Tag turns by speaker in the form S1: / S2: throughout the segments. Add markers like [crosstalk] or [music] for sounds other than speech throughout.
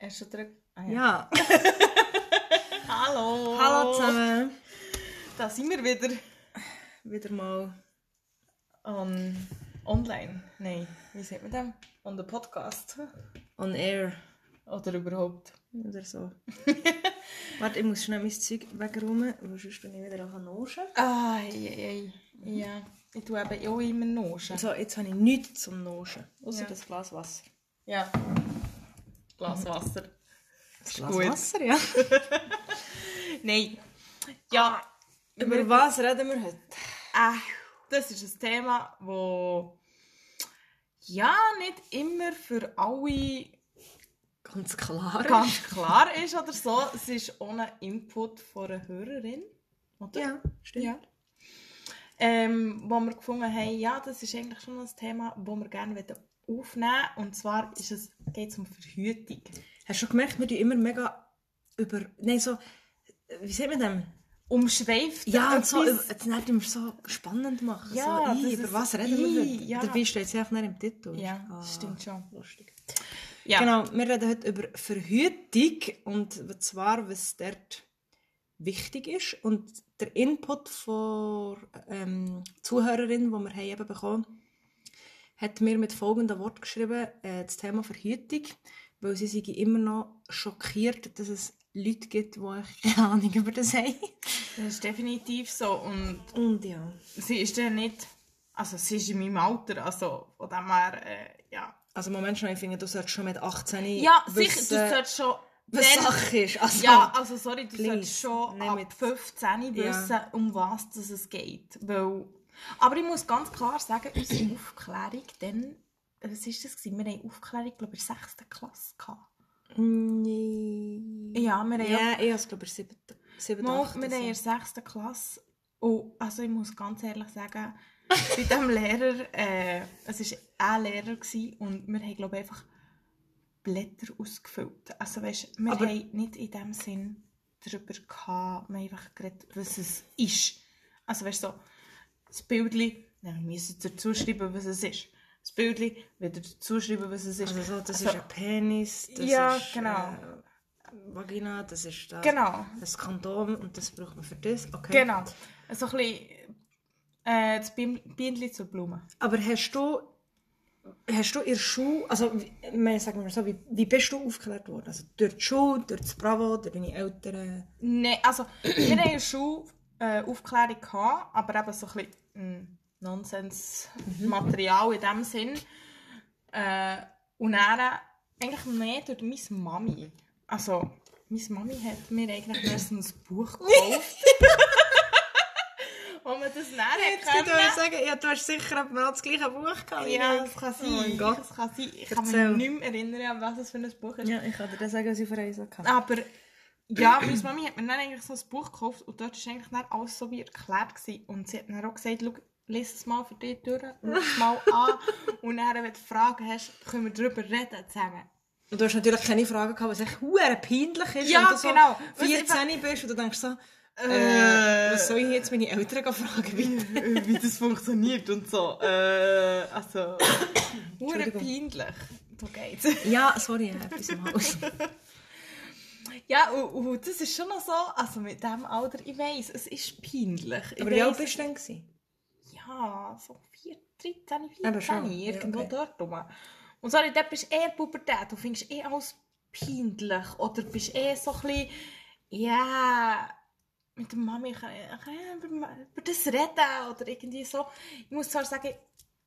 S1: Hast du drück? Ah,
S2: Ja,
S1: Hallo.
S2: hallo zusammen.
S1: Da sind wir wieder.
S2: Wieder mal
S1: On, Ehm, online. Nein, wie sagt man das? On the podcast.
S2: on air
S1: Oder überhaupt. [laughs]
S2: oder so. Warte, ich muss schnell mein Zeug wegräumen, weil sonst bin ich wieder auf der Nase.
S1: Ah, ei, ei, ei. Ja, ich tue eben auch immer Noschen.
S2: So, jetzt habe ich nichts zum Naschen, außer
S1: Ja.
S2: das Glas Wasser.
S1: Ja. Glas Wasser.
S2: Das Glas
S1: gut.
S2: Wasser,
S1: [laughs]
S2: ja.
S1: Nein. Ja,
S2: Über was reden wir heute?
S1: äh, das ist ein Thema, wo ja nicht immer für alle
S2: Ganz klar.
S1: ganz klar ist oder so. Es ist ohne Input von einer Hörerin, oder?
S2: Ja, stimmt.
S1: Ja. Ähm, wo wir gefunden haben, ja, das ist eigentlich schon ein Thema, das wir gerne wollen aufnehmen Und zwar ist es, geht es um Verhütung.
S2: Hast du schon gemerkt, wir tun immer mega über... Nein, so... Wie sagt man dem?
S1: Um Umschweift
S2: Ja, und so,
S1: etwas-
S2: jetzt nicht immer so spannend machen.
S1: Ja,
S2: so,
S1: das
S2: ey, über
S1: ist-
S2: was reden wir
S1: ey,
S2: heute?
S1: ja.
S2: Dabei steht es einfach nicht im Titel.
S1: Ja,
S2: Ah,
S1: stimmt schon.
S2: Lustig.
S1: Ja.
S2: Genau, wir reden heute über Verhütung und zwar, was dort wichtig ist. Und der Input von ähm, Zuhörerin, den wir haben eben bekommen hat mir mit folgenden Wort geschrieben, äh, das Thema Verhütung, weil sie sei immer noch schockiert, dass es Leute gibt, die eigentlich keine Ahnung über das haben.
S1: Das ist definitiv so. Und
S2: Und ja.
S1: sie ist ja nicht, also sie ist in meinem Alter, also von dem her, äh, ja.
S2: Also Moment schon, ich finde, du solltest schon mit 18
S1: Ja, sicher,
S2: wissen,
S1: du solltest schon...
S2: was
S1: wenn-
S2: Sache ist. Also,
S1: Ja, also sorry, du
S2: Please,
S1: solltest schon
S2: nehm
S1: ab
S2: jetzt-
S1: 15
S2: Ja.
S1: wissen, um was das es geht. Weil, aber ich muss ganz klar sagen, unsere Aufklärung, denn, was ist das? gewesen? Wir haben Aufklärung, glaube ich, in der 6. Klasse. Gehabt.
S2: Nee.
S1: Ja, wir haben, ja,
S2: Ja, ich habe es glaube ich 7, 7
S1: mal,
S2: 8.
S1: wir haben in der 6. Klasse. Und also ich muss ganz ehrlich sagen, bei
S2: [laughs]
S1: diesem Lehrer, äh, es war ein Lehrer gewesen, und wir haben, glaube ich, einfach Blätter ausgefüllt. Also weißt, wir
S2: Aber-
S1: haben nicht in dem Sinn darüber gehabt, wir haben einfach geredet, was es ist. Also weißt du, so, das Bildchen, nein, wir müssen dazu schreiben, was es ist. Das Bildchen, wieder dazu schreiben, was es ist.
S2: Also so, das
S1: Also,
S2: ist ein Penis, das
S1: Ja,
S2: ist
S1: genau.
S2: äh, Vagina, das ist das.
S1: Genau.
S2: Das Kondom und das braucht man für das. Okay.
S1: Genau. So ein bisschen äh, das Bienen- Bienenli zur Blume.
S2: Aber hast du, hast du in der Schule, also wie- wir sagen wir so, wie, wie bist du aufgeklärt worden? Also durch die Schule, durch das Bravo, durch deine Eltern?
S1: Nein, also wir hatten eine Schulaufklärung, gehabt, aber eben so ein bisschen mm, Nonsens-Material in dem Sinn. Äh, und dann eigentlich mehr durch meine Mami. Also, meine Mami hat mir eigentlich erst ein Buch
S2: [laughs]
S1: gekauft. Wo man das näher
S2: sagen, ja, du hast sicher noch das gleiche Buch gehabt.
S1: Ja, das kann sein.
S2: Oh mein Gott.
S1: Das kann sein. Ich kann
S2: Erzähl.
S1: mich nicht mehr erinnern, an was es für ein Buch ist.
S2: Ja, ich kann dir das sagen, was ich für eins hatte.
S1: Aber ja, meine Mami hat mir dann eigentlich so ein Buch gekauft und dort war eigentlich dann alles so wie erklärt. Gewesen. Und sie hat dann auch gesagt, «Schau, lies es mal für dich durch, schau es mal an und dann, wenn du Fragen hast, können wir darüber reden zusammen.
S2: Und du hast natürlich keine Fragen gehabt, was echt huere peinlich ist,
S1: Ja,
S2: wenn du so
S1: genau. Was
S2: 14 bist und du denkst so,
S1: Äh.
S2: äh, was soll ich jetzt meine Eltern gehen fragen? Bitte?
S1: wie das funktioniert und so. Äh, [coughs] also, hure
S2: Entschuldigung.
S1: peinlich. Da geht's.
S2: Ja, sorry, ich habe etwas im [laughs] Haus.
S1: Ja, und, und das ist schon noch so, also mit diesem Alter, ich weiss, es ist peinlich. Ich
S2: Aber wie alt
S1: weiss-
S2: bist du denn? gewesen?
S1: Ja, so 4, 13,
S2: Eben
S1: 14,
S2: schon.
S1: irgendwo
S2: Ja, okay.
S1: dort rum. Und sorry, dort bist du eher Pubertät, du findest eh alles peinlich oder bist eh so ein bisschen, ja, mit der Mami eh, kann ich kann ich über, über das reden oder irgendwie so. Ich muss zwar sagen,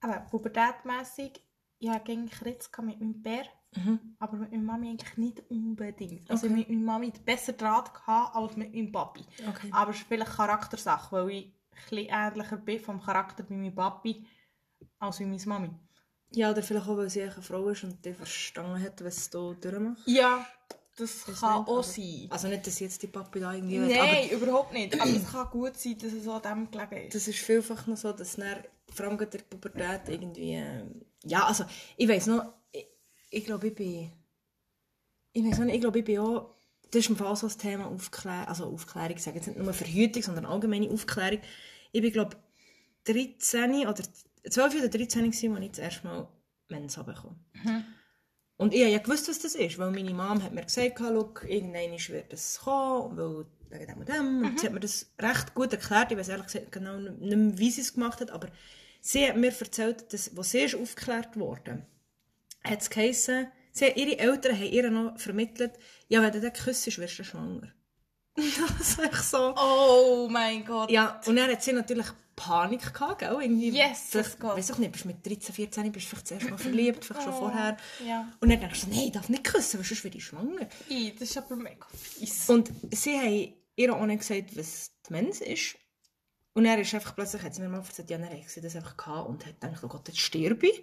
S1: aber pubertätmässig, ja, gegen Kritz mit meinem Bär,
S2: Mhm.
S1: aber mit meiner Mami eigentlich nicht unbedingt. Also
S2: Okay.
S1: mit meiner Mami hatte besser Draht gehabt als mit meinem Papi.
S2: Okay.
S1: Aber es ist vielleicht Charaktersache, weil ich etwas ähnlicher bin vom Charakter bei meinem Papi als bei meiner Mami.
S2: Ja, oder vielleicht auch, weil sie echt eine Frau ist und die verstanden hat, was du durchmachst.
S1: Ja, das,
S2: Das
S1: kann
S2: nicht,
S1: auch
S2: aber-
S1: sein.
S2: Also nicht, dass jetzt die Papi da irgendwie... will, aber
S1: Nein, überhaupt nicht. Aber es kann gut sein, dass es an dem gelegen ist.
S2: das ist vielfach noch so, dass dann, vor allem gerade in der Pubertät irgendwie, ähm, ja, also, ich weiss noch, ich, ich glaube, ich bin, ich weiss noch nicht, ich glaube, ich bin auch, das ist im Fall so das Thema Aufklärung, also Aufklärung, ich sage jetzt nicht nur Verhütung, sondern allgemeine Aufklärung. Ich bin, glaube 13 oder 12 oder 13 gewesen, als ich das erste Mal Mensa bekommen Und ich habe ja gewusst, was das ist, weil meine Mom hat mir gesagt, «Schau, irgendwann wird das kommen, weil wegen dem und dem.» Und sie hat mir das recht gut erklärt. Ich weiß ehrlich gesagt genau nicht mehr, wie sie es gemacht hat, aber sie hat mir erzählt, dass, wo sie ist aufgeklärt worden, hat es geheissen, sie, ihre Eltern haben ihr noch vermittelt, «Ja, wenn du den küsst, wirst du schwanger.» [laughs] Das ist echt so...
S1: Oh mein Gott.
S2: Ja, und dann hat sie natürlich Panik gehabt, gell? Irgendwie,
S1: Yes,
S2: vielleicht-
S1: Gott.
S2: weiss auch nicht, bist mit 13, 14, bist du vielleicht zuerst mal verliebt, vielleicht schon
S1: Oh,
S2: vorher.
S1: ja.
S2: Und dann denkst du, nein, ich darf nicht küssen, weil sonst werde ich schwanger.
S1: Ih, das ist aber mega fies.
S2: Und sie haben ihr auch nicht gesagt, was die Mens ist. Und er ist einfach plötzlich, hat sie mir mal erzählt, ja, dann hat sie das einfach gehabt und hat gedacht, oh Gott, jetzt sterbe ich.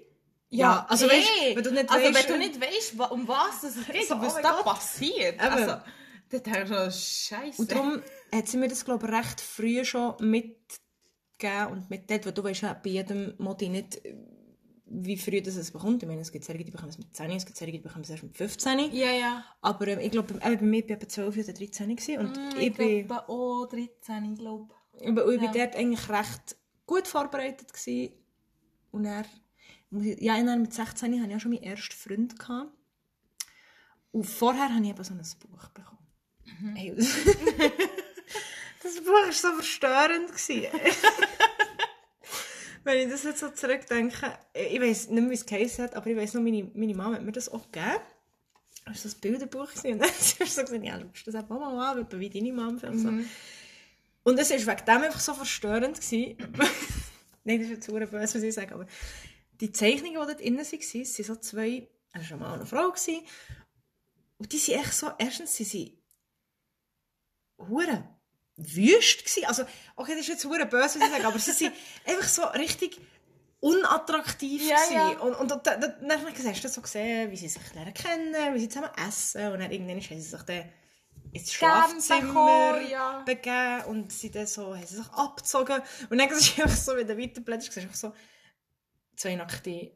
S2: Ja, also
S1: eh.
S2: weisst, wenn du nicht
S1: also, wenn
S2: weisst,
S1: du
S2: ähm,
S1: nicht weisst, wa- um was es geht,
S2: So,
S1: und
S2: oh
S1: was
S2: mein
S1: da
S2: Gott.
S1: passiert,
S2: Eben.
S1: also, dann denkst du, Scheiße.
S2: Und darum hat sie mir das, glaube ich, recht früh schon mitgegeben und mitgeteilt, weil du weißt ja bei jedem Modi nicht, wie früh das es bekommt. Ich meine, es gibt Serien, die bekommen es mit 10, es gibt Serien, die bekommen es erst mit 15.
S1: ja, ja.
S2: Aber ähm, ich glaube, bei, eben bei mir bin ich etwa 12 oder 13 gewesen und
S1: Hm,
S2: ich,
S1: ich
S2: bin,
S1: glaube, oh, 13, ich glaube.
S2: aber ich bin
S1: ja.
S2: dort eigentlich recht gut vorbereitet gewesen. Und er, ja, und dann mit 16 hatte ich ja schon meinen ersten Freund. Gehabt. Und vorher habe ich eben so ein Buch bekommen. Ey, das- [laughs] das Buch war so verstörend. gewesen. [laughs] Wenn ich das jetzt so zurückdenke, ich weiß nicht mehr, wie es geheißen hat, aber ich weiß noch, meine, meine Mama hat mir das auch gegeben. Das war so ein Bilderbuch gewesen. und dann [laughs] hast du so gesagt, ja, schaust du das auch mal an, etwa wie deine Mama vielleicht
S1: Mhm.
S2: so. Und es war wegen dem einfach so verstörend. Gewesen. [laughs] Nein, das ist jetzt verdammt böse, was ich sage, aber die Zeichnungen, die dort drin waren, waren so zwei, das war ein Mann und eine Frau, gewesen. und die sind echt so, erstens, sie sind hure wüst gsi. Also, okay, das ist jetzt hure böse, was ich sage, aber sie sind einfach so richtig unattraktiv
S1: Ja,
S2: gsi.
S1: ja.
S2: Und, und, und dann, dann dann hast du so gesehen, wie sie sich lernen kennen, wie sie zusammen essen und dann irgendwann haben sie sich dann ins
S1: Gärten
S2: Schlafzimmer
S1: bekommen, ja.
S2: begeben und sie dann so, haben sie sich abgezogen und dann [laughs] ist einfach so, wenn du weiterblätterst, siehst du einfach so zwei nackte,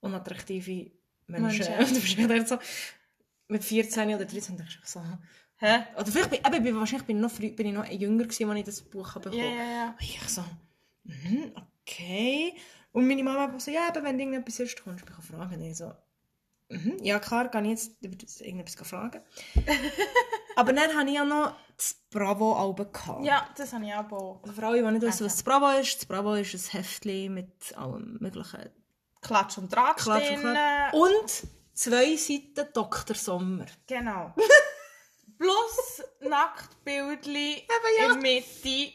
S2: unattraktive Menschen.
S1: Menschen.
S2: [laughs] Und du bist dann so mit 14 oder 13 denkst du einfach so,
S1: Hä?
S2: oder vielleicht bin, eben, ich bin- wahrscheinlich bin ich noch, früh, bin ich noch jünger gewesen, als ich das Buch habe
S1: Ja,
S2: bekommen.
S1: ja, ja.
S2: Und ich so, mhm, okay. Und meine Mama hat so, ja, aber wenn du irgendetwas ist, kannst du mich auch fragen. Und ich so, mhm, ja klar, kann ich jetzt über das
S1: [laughs]
S2: irgendetwas fragen. aber dann hatte ich ja noch das Bravo-Album. gehabt.
S1: Ja, das habe ich auch.
S2: Und Für alle, die nicht wissen,
S1: Also.
S2: was das Bravo ist, das Bravo ist ein Heftchen mit allem möglichen
S1: Klatsch und Tratsch
S2: Klatsch und
S1: drin.
S2: Klatsch. Und zwei Seiten Dr. Sommer.
S1: Genau.
S2: [laughs]
S1: Plus Nacktbildli
S2: ja.
S1: in der Mitte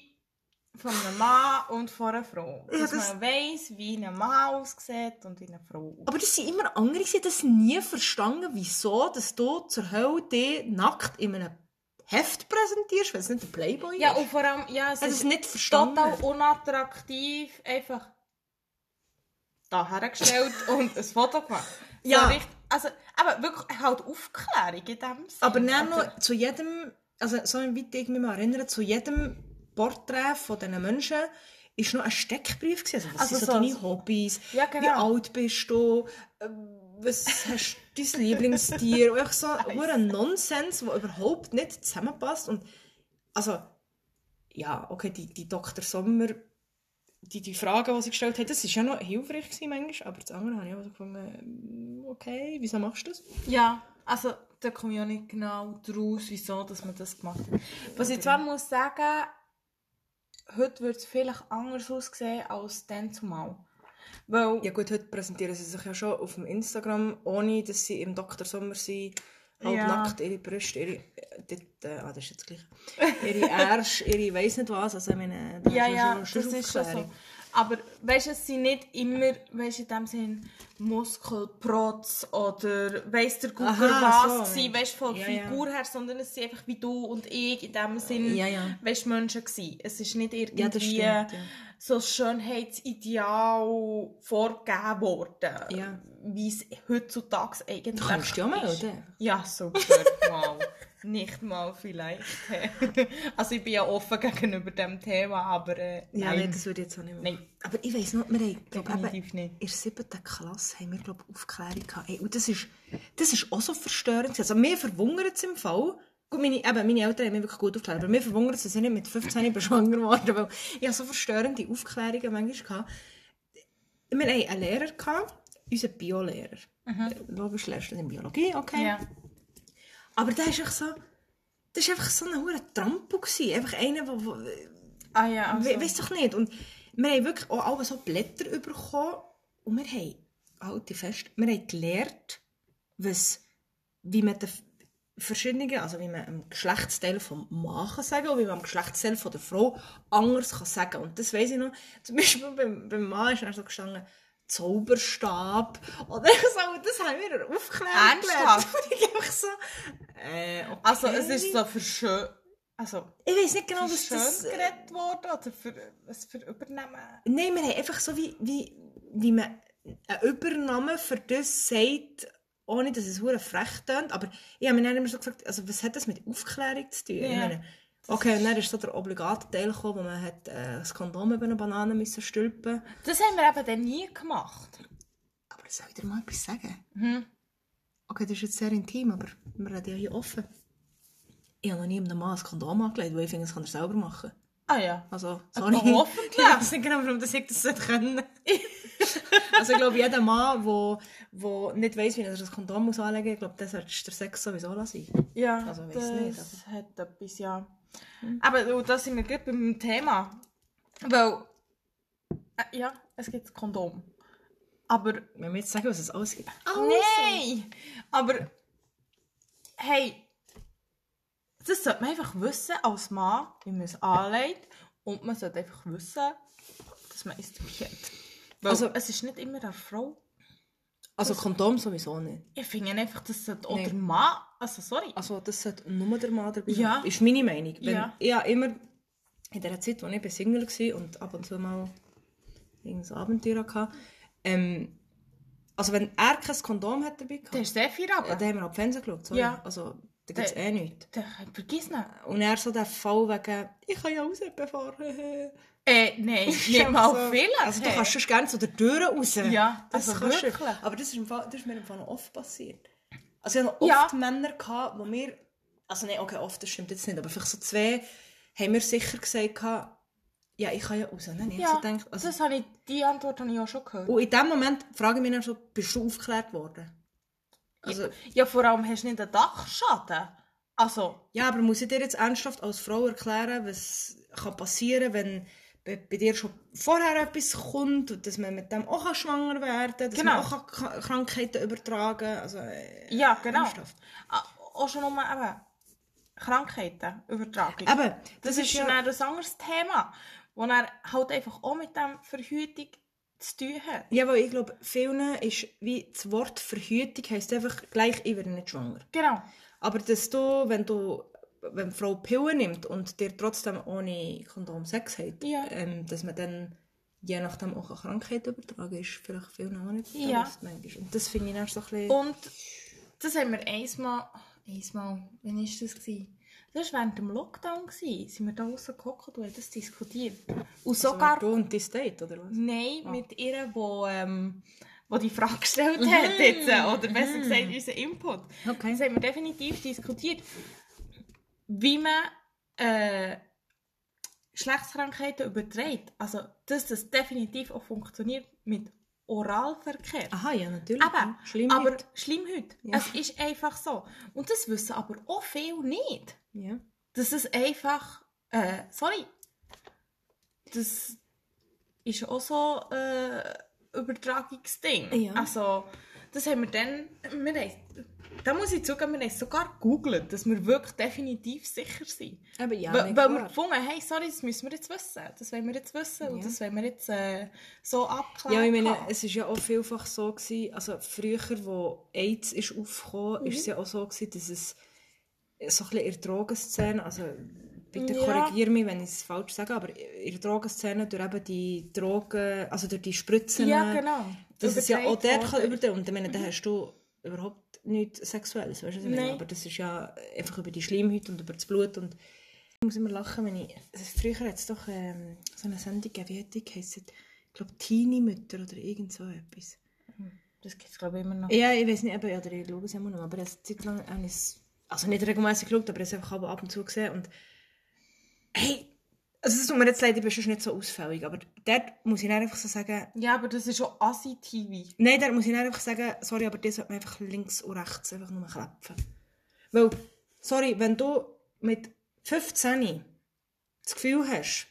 S1: von einem Mann und von einer Frau.
S2: Ja, dus-
S1: Dass
S2: das-
S1: man weiss, wie ein Mann aussieht und wie eine Frau.
S2: Aber das sind immer andere, die das nie verstanden, wieso dass du zur Hölle dich nackt in einem Heft präsentierst, weil es nicht der Playboy
S1: ja,
S2: ist.
S1: und vor allem, ja, Also es
S2: Das
S1: ist
S2: ist nicht verstanden.
S1: total unattraktiv, einfach da hergestellt
S2: [laughs]
S1: und ein Foto gemacht. So
S2: Ja.
S1: richtig- also, aber wirklich halt Aufklärung in dem Sinne.
S2: Aber dann
S1: Also,
S2: noch zu jedem, also so weit ich mich mal erinnere, zu jedem Porträt von diesen Menschen ist noch ein Steckbrief gewesen. Also, was
S1: Also
S2: sind so
S1: so-
S2: deine Hobbys?
S1: Ja, genau.
S2: Wie alt bist du? Ähm, Was hast du dein Lieblingstier? Und einfach
S1: [laughs]
S2: so ein Nonsens, der überhaupt nicht zusammenpasst. Und also, ja, okay, die, die Dr. Sommer, die, die Fragen, die sie gestellt hat, das war ja noch hilfreich gewesen manchmal, aber das andere habe ich auch so gefunden, okay, wieso machst du das?
S1: Ja, also da komme ich auch nicht genau draus, wieso dass man das gemacht hat. Was ich zwar muss sagen, heute würde es vielleicht anders aussehen als dann zumal. Weil,
S2: Ja gut, heute präsentieren sie sich ja schon auf dem Instagram, ohne dass sie im Dr. Sommer sind, halbnackt, ihre Brüste, ihre... Äh, dort, äh, ah, das ist jetzt gleich. Ihre Ärsche, ihre weiss nicht was, also ich meine... da
S1: ja,
S2: ist
S1: ja,
S2: schon-
S1: das
S2: schon
S1: ist schon so.
S2: Aufklärung.
S1: Aber weißt du, es sind nicht immer, weißt du, in dem Sinn Muskelprotz oder weiss der Gucker
S2: Aha,
S1: was
S2: so.
S1: gewesen, weißt du, von der
S2: Ja, ja.
S1: Figur her, sondern es sind einfach wie du und ich in dem Sinn,
S2: Ja, ja.
S1: weißt du, Menschen gewesen. Es ist nicht irgendwie...
S2: Ja, das stimmt, ja.
S1: so ein Schönheitsideal vorgegeben worden,
S2: Ja.
S1: wie es heutzutage eigentlich
S2: Du kannst ja
S1: ist.
S2: melden.
S1: Ja, super, wow. [laughs] Nicht mal vielleicht. [laughs] also ich bin ja offen gegenüber dem Thema, aber äh,
S2: Ja, nein,
S1: nein,
S2: das würde ich jetzt auch nicht machen.
S1: Nein.
S2: Aber ich weiss noch, wir haben, glaub, eben,
S1: definitiv nicht.
S2: in der siebten Klasse haben wir, glaube ich, Aufklärung gehabt. Ey, und das ist, das ist auch so verstörend. gewesen. Also mir verwundert es im Fall, gut, meine, eben, meine Eltern haben mich wirklich gut aufgeklärt, aber mir verwundert es, dass ich nicht mit 15 bin schwanger geworden weil ich habe so verstörende Aufklärungen manchmal gehabt. Wir hatten einen Lehrer, gehabt, unser Biolehrer.
S1: Mhm.
S2: Logisch lehrst du in Biologie, okay.
S1: Ja.
S2: Aber der ist echt so... Das war einfach so ein hoher Trampo. gewesen. Einfach einer, der... der
S1: Ah ja, also.
S2: We weiss doch nicht. Und wir haben wirklich auch alle so Blätter bekommen. Und wir haben, halte ich fest, wir haben gelernt, was, wie man den verschiedenen, also wie man dem Geschlechtsteil vom Mann kann sagen und wie man dem Geschlechtsteil von der Frau anders kann sagen. Und das weiss ich noch. Zum Beispiel beim, beim Mann ist dann so gestanden, Zauberstab oder [laughs] so. Und Das haben wir aufgeklärt.
S1: Ernsthaft?
S2: [laughs] Und ich einfach so, äh, okay.
S1: also es ist so für schön. Also,
S2: Ich weiß nicht genau,
S1: für
S2: was
S1: schön
S2: das...
S1: geredet worden oder für, was für Übernehmen?
S2: Nein, wir haben einfach so wie, wie, wie man eine Übernahme für das sagt, ohne dass es hure frech tönt. Aber ich habe mir dann immer so gefragt, also was hat das mit Aufklärung zu tun? Ich
S1: Ja,
S2: meine,
S1: das
S2: okay, und
S1: ist-
S2: dann ist so der obligate Teil gekommen, wo man hat, äh, das Kondom über eine Banane müssen stülpen
S1: Das haben wir eben dann nie gemacht.
S2: Aber soll ich dir mal etwas sagen?
S1: Mhm.
S2: Okay, das ist jetzt sehr intim, aber wir reden ja hier offen. Ich habe noch nie einem Mann ein Kondom angelegt, weil ich finde, das kann er selber machen.
S1: Ah ja.
S2: [laughs] Also,
S1: Aber
S2: sorry.
S1: hoffentlich. [laughs]
S2: Ich weiß nicht genau, warum das ich das nicht können. [laughs] also ich glaube, jeder Mann, der wo, wo nicht weiß, wie er das Kondom muss anlegen muss, ich glaube, der sollte der Sex sowieso lassen.
S1: Ja,
S2: Also, Hm. weiss
S1: das
S2: nicht, aber-
S1: hat etwas, ja. Aber oh, da sind wir gerade beim Thema. Weil, äh, ja, es gibt das Kondom. Aber
S2: Wenn wir jetzt sagen, was es alles gibt.
S1: Nein! Aber hey, das sollte man einfach wissen als Mann, wie man es anlegt. Und man sollte einfach wissen, dass man es dabei hat. Weil
S2: Also-
S1: also, es ist nicht immer eine Frau.
S2: Also Kondom sowieso nicht.
S1: Ich finde einfach, das sollte auch
S2: Nein.
S1: der Mann. Also, sorry.
S2: Also das sollte nur der Mann dabei
S1: Ja.
S2: haben. Ist meine Meinung. Wenn,
S1: Ja.
S2: Ich habe immer in der Zeit, als ich bei Single war und ab und zu mal irgendein Abenteuer hatte, ähm, also wenn er kein Kondom hat dabei
S1: Der
S2: gehabt,
S1: ist sehr viel
S2: Ja,
S1: aber.
S2: da haben wir auch Fernsehen geschaut, sorry.
S1: Ja.
S2: Also, da gibt es
S1: Da-
S2: eh nichts.
S1: Der, vergiss nicht.
S2: Und er so der Fall wegen, ich kann ja raus, bevor... [laughs]
S1: Äh, nein, nicht
S2: Schon
S1: mal
S2: so.
S1: viel.
S2: Also, du
S1: hey.
S2: kannst schon gerne zu der Tür raus.
S1: Ja, also
S2: kannst du.
S1: wirklich.
S2: Aber das ist, im Fall, das ist mir im Fall noch oft passiert. Also, ich hatte noch
S1: Ja.
S2: oft Männer, gehabt, wo mir... Also, nein, okay, oft, das stimmt jetzt nicht, aber vielleicht so zwei haben mir sicher gesagt, gehabt, ja, ich kann ja raus. Nein, ich
S1: Ja,
S2: habe so gedacht, also,
S1: Das habe ich, die Antwort habe ich auch schon gehört.
S2: und in dem Moment frage ich mich dann so, bist du aufgeklärt worden? Also,
S1: Ja, vor allem hast du nicht einen Dachschaden. Also,
S2: Ja, aber muss ich dir jetzt ernsthaft als Frau erklären, was kann passieren wenn bei, bei dir schon vorher etwas kommt und dass man mit dem auch kann schwanger werden kann, dass
S1: Genau.
S2: man auch kann K- Krankheiten übertragen kann. Also, äh,
S1: Ja, genau.
S2: Ernsthaft.
S1: Ah, Auch schon nur eben Krankheiten, Übertragung.
S2: Eben, das,
S1: das,
S2: ist,
S1: ist schon
S2: ja...
S1: ein anderes Thema, wo er halt einfach auch mit dem Verhütung zu tun hat.
S2: Ja, weil ich glaube, vielen ist wie das Wort Verhütung heisst einfach gleich, ich werde nicht schwanger.
S1: Genau.
S2: Aber dass du, wenn du wenn die Frau Pillen nimmt und dir trotzdem ohne Kondom Sex hat,
S1: Ja.
S2: ähm, dass man dann je nachdem auch eine Krankheit übertragen ist, vielleicht viel noch nicht
S1: Ja.
S2: bewusst manchmal. Und das finde ich dann so ein bisschen...
S1: Und das haben wir einmal, einmal, wann war das? Gewesen? Das war während dem Lockdown, gewesen. sind wir da draussen gehockt und haben das diskutiert. Und sogar,
S2: Also, du und dein Date, oder was?
S1: nein, mit ihr, wo, ähm, wo die Frage [laughs] gestellt
S2: Mhm.
S1: hat, jetzt, äh, oder besser gesagt, unser Input. Das
S2: Okay.
S1: haben wir definitiv diskutiert, wie man äh, Geschlechtskrankheiten überträgt. Also, dass das definitiv auch funktioniert mit Oralverkehr.
S2: Aha, ja, natürlich.
S1: Eben,
S2: Ah, Schlimm
S1: aber
S2: nicht.
S1: Schleimhaut.
S2: Ja.
S1: Es ist einfach so. Und das wissen aber auch viele nicht.
S2: Ja.
S1: Dass es einfach, äh, sorry, das ist auch so ein äh, Übertragungsding.
S2: Ja.
S1: Also, das haben wir dann, wir haben, da muss ich zugeben, wir haben es sogar gegoogelt, dass wir wirklich definitiv sicher sind.
S2: Aber ja,
S1: weil,
S2: nicht
S1: weil wir
S2: klar.
S1: gefunden haben, hey, sorry, das müssen wir jetzt wissen, das wollen wir jetzt wissen und
S2: Ja.
S1: das wollen wir jetzt äh, so
S2: Ja, ich
S1: abklären.
S2: meine, es war ja auch vielfach so, gewesen, also früher, wo AIDS ist aufgekommen ist, es
S1: Mhm.
S2: ja auch so, gewesen, dass es so ein bisschen in der Drogenszene, also bitte
S1: Ja.
S2: korrigiere mich, wenn ich es falsch sage, aber in der Drogenszene durch eben die Drogen, also durch die Spritzen,
S1: ja, genau.
S2: dass es ja auch
S1: Übertragen
S2: dort kann
S1: worden.
S2: übertragen Und ich meine, da hast du überhaupt nichts Sexuelles, weißt du, was ich meine?
S1: Nein.
S2: Aber das ist ja einfach über die Schleimhaut und über das Blut und ich muss immer lachen, wenn ich... Also früher hat es doch ähm, so eine Sendung gegeben, wie hat die geheissen? Ich glaube, Teenie-Mütter oder irgend so etwas.
S1: Das gibt es, glaube ich, immer noch.
S2: Ja, ich weiß nicht, eben, oder ich schaue es immer noch, aber eine Zeit lang habe ich es, also nicht regelmäßig geschaut, aber ich habe es einfach ab und zu gesehen und hey, Also es tut mir jetzt leid, ich bin sonst nicht so ausfällig, aber dort muss ich dann einfach so sagen,
S1: Ja, aber das ist schon Asi-TV.
S2: Nein, da muss ich dann einfach sagen, sorry, aber das sollte man einfach links und rechts einfach nur klappen. Weil, sorry, wenn du mit 15 das Gefühl hast,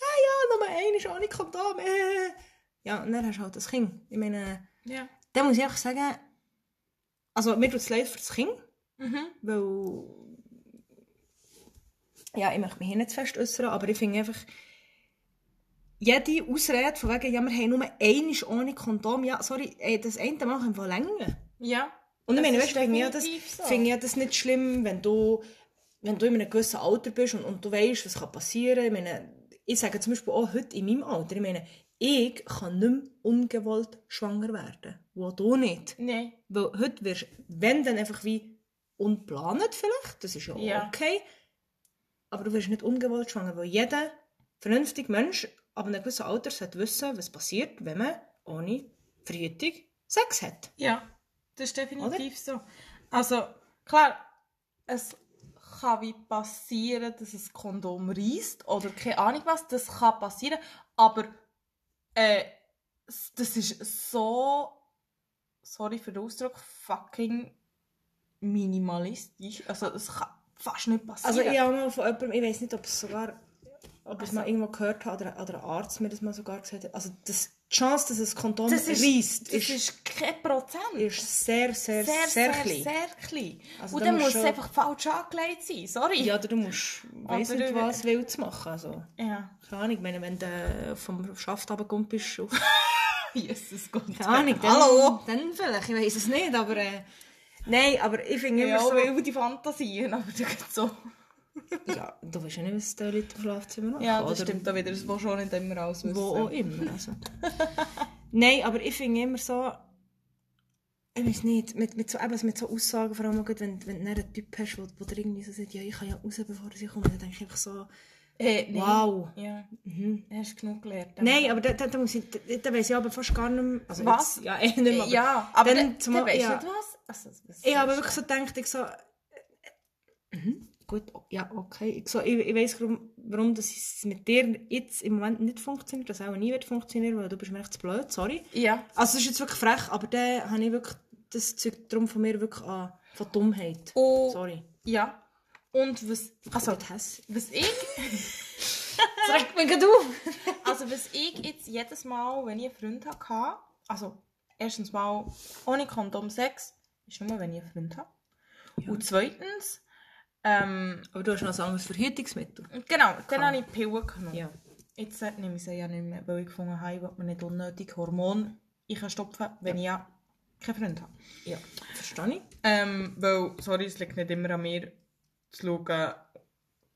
S2: ah ja, Nummer 1 ist auch nicht Kondom, äh. Ja, und dann hast du halt das Kind. Ich meine,
S1: Ja.
S2: da muss ich einfach sagen, also mir tut es leid für das Kind,
S1: Mhm.
S2: weil ja, ich möchte mich hier nicht zu fest äußern, aber ich finde einfach jede Ausrede von wegen, ja, wir haben nur einmal ohne Kondom, ja, sorry, ey, das eine Mal kann von länger.
S1: Ja.
S2: Und ich
S1: Das
S2: meine,
S1: ist
S2: weißt du, finde ja das,
S1: definitiv so.
S2: finde ja das nicht schlimm, wenn du, wenn du in einem gewissen Alter bist und, und du weißt, was kann passieren. Ich meine, ich sage zum Beispiel auch heute in meinem Alter, ich meine, ich kann nicht mehr ungewollt schwanger werden. Wo du nicht.
S1: Nein.
S2: Weil heute wirst du, wenn, dann einfach wie unplanet vielleicht, das ist ja, auch
S1: Ja.
S2: okay, aber du wirst nicht ungewollt schwanger, weil jeder vernünftige Mensch ab einem gewissen Alter sollte wissen, was passiert, wenn man ohne Verhütung Sex hat.
S1: Ja, das ist definitiv so. Also, klar, es kann wie passieren, dass ein Kondom reißt oder keine Ahnung was, das kann passieren, aber äh, s- das ist so, sorry für den Ausdruck, fucking minimalistisch. Also, es kann fast nicht
S2: Also
S1: passieren.
S2: ich habe mal von jemandem, ich weiß nicht, ob es sogar, ob ich es
S1: Also-
S2: mal irgendwo gehört habe oder, oder ein Arzt mir das mal sogar gesagt hat, also das, die Chance, dass es Kondom
S1: das ist,
S2: reißt,
S1: das
S2: ist,
S1: ist kein Prozent.
S2: ist sehr, sehr, sehr,
S1: sehr, sehr,
S2: klein.
S1: sehr klein.
S2: Also
S1: Und
S2: da
S1: dann
S2: musst
S1: muss es
S2: schon-
S1: einfach falsch angelegt sein, sorry.
S2: Ja, oder du musst, weiss
S1: Aber-
S2: nicht was, wild zu machen, also.
S1: ja.
S2: Keine Ahnung, ich meine, wenn du vom Schaft runtergekommen bist, [laughs] auf-
S1: [laughs] Jesus Gott.
S2: keine Ahnung, dann,
S1: Hallo.
S2: dann vielleicht, ich weiß es nicht, aber... Äh, nein, aber ich finde immer
S1: Ja,
S2: so...
S1: wilde Fantasien, aber das geht so.
S2: Ja, du weißt ja nicht, was die Leute im Schlafzimmer machen,
S1: Ja, das
S2: oder
S1: stimmt auch wieder. Das will schon nicht immer alles wissen.
S2: Wo auch
S1: [laughs]
S2: immer, also. nein, aber ich finde immer so... Ich weiß nicht, mit, mit, so, eben, mit so Aussagen, vor allem auch gut, wenn, wenn du dann einen Typ hast, wo, wo dir irgendwie so sagt, ja, ich kann ja raus, bevor sie kommt, dann denke ich einfach so,
S1: Äh, nein.
S2: wow.
S1: Ja,
S2: Mhm.
S1: hast genug gelernt.
S2: Nein, aber da, da, da, muss ich, da, da weiss ich aber fast gar nicht mehr... Also
S1: Was?
S2: Jetzt, ja, eh nicht mehr, aber-
S1: ja, [laughs] aber
S2: dann
S1: dann,
S2: zumal-
S1: weißt
S2: ja.
S1: du nicht was? Also, das ist
S2: Ich habe
S1: so
S2: wirklich so gedacht, ich so... äh, äh, Mhm, gut, o- ja, okay. Ich, so, ich, ich weiss, warum, warum das es mit dir jetzt im Moment nicht funktioniert, das auch nie wird funktionieren, weil du bist mir echt zu blöd, sorry.
S1: schlimm. Ja.
S2: Also es ist jetzt wirklich frech, aber dann habe ich wirklich... Das zeugt darum von mir wirklich an... Von Dummheit.
S1: Und,
S2: Sorry.
S1: ja. Und was,
S2: Also... [laughs] Das
S1: was ich,
S2: regt mich gerade auf.
S1: also was ich jetzt jedes Mal, wenn ich einen Freund hatte, also erstens mal ohne Kondom Sex, ist nur, wenn ich einen Freund habe.
S2: Ja.
S1: Und zweitens, ähm,
S2: Aber du hast noch ein anderes Verhütungsmittel.
S1: Genau, dann habe ich Pillen genommen.
S2: Ja.
S1: Jetzt äh, nehme ich sie ja nicht mehr, weil ich gefunden habe, ich will mir nicht unnötig Hormone ich kann stopfen, wenn ich ja keinen Freund habe.
S2: Ja. Verstehe ich?
S1: Ähm, weil, sorry, es liegt nicht immer an mir, zu schauen,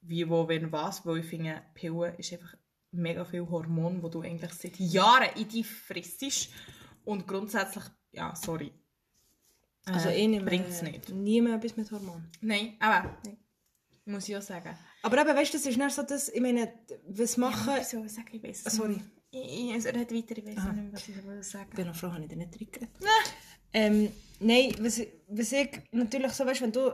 S1: wie, wo, wenn, was, weil ich finde, Pillen ist einfach mega viel Hormon, wo du eigentlich seit Jahren in dich frissest und grundsätzlich, ja, sorry.
S2: Also
S1: Äh,
S2: eh nicht mehr...
S1: Bringt es nicht.
S2: Nie mehr etwas mit Hormonen.
S1: Nein, aber, muss ich auch sagen.
S2: Aber eben, weißt du, das ist nicht so das... Ich meine, was machen...
S1: Ich soll sagen, ich weiß
S2: Sorry.
S1: Ich, ich rede weiter, ich weiß
S2: Aha.
S1: nicht, mehr, was ich wollte sagen
S2: Ich bin noch froh, habe ich dir nicht reingeredet. Ähm, nein, was, was ich natürlich so, weißt du, wenn du,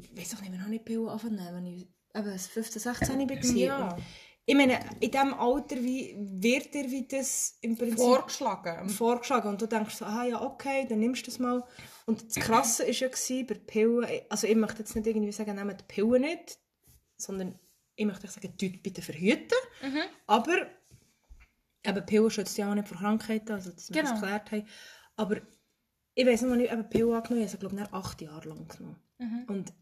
S2: ich weiß doch nicht, wenn ich nicht Pillen anfangen, wenn ich eben 15, 16 war.
S1: Ja.
S2: Und Ich meine, in diesem Alter wie, wird dir wie das im Prinzip
S1: Vorgeschlagen.
S2: vorgeschlagen und du denkst so, ah ja, okay, dann nimmst du das mal. Und das Krasse war ja, gewesen, bei Pillen, also ich möchte jetzt nicht irgendwie sagen, nehmt die Pillen nicht, sondern ich möchte euch sagen, tut bitte verhüten. Aber, eben Pillen schützt ja auch nicht vor Krankheiten, also dass wir das
S1: Genau.
S2: geklärt haben. Aber ich weiss noch, als ich eben Pillen angenommen habe, also, glaube ich, nach acht Jahre lang genommen. Und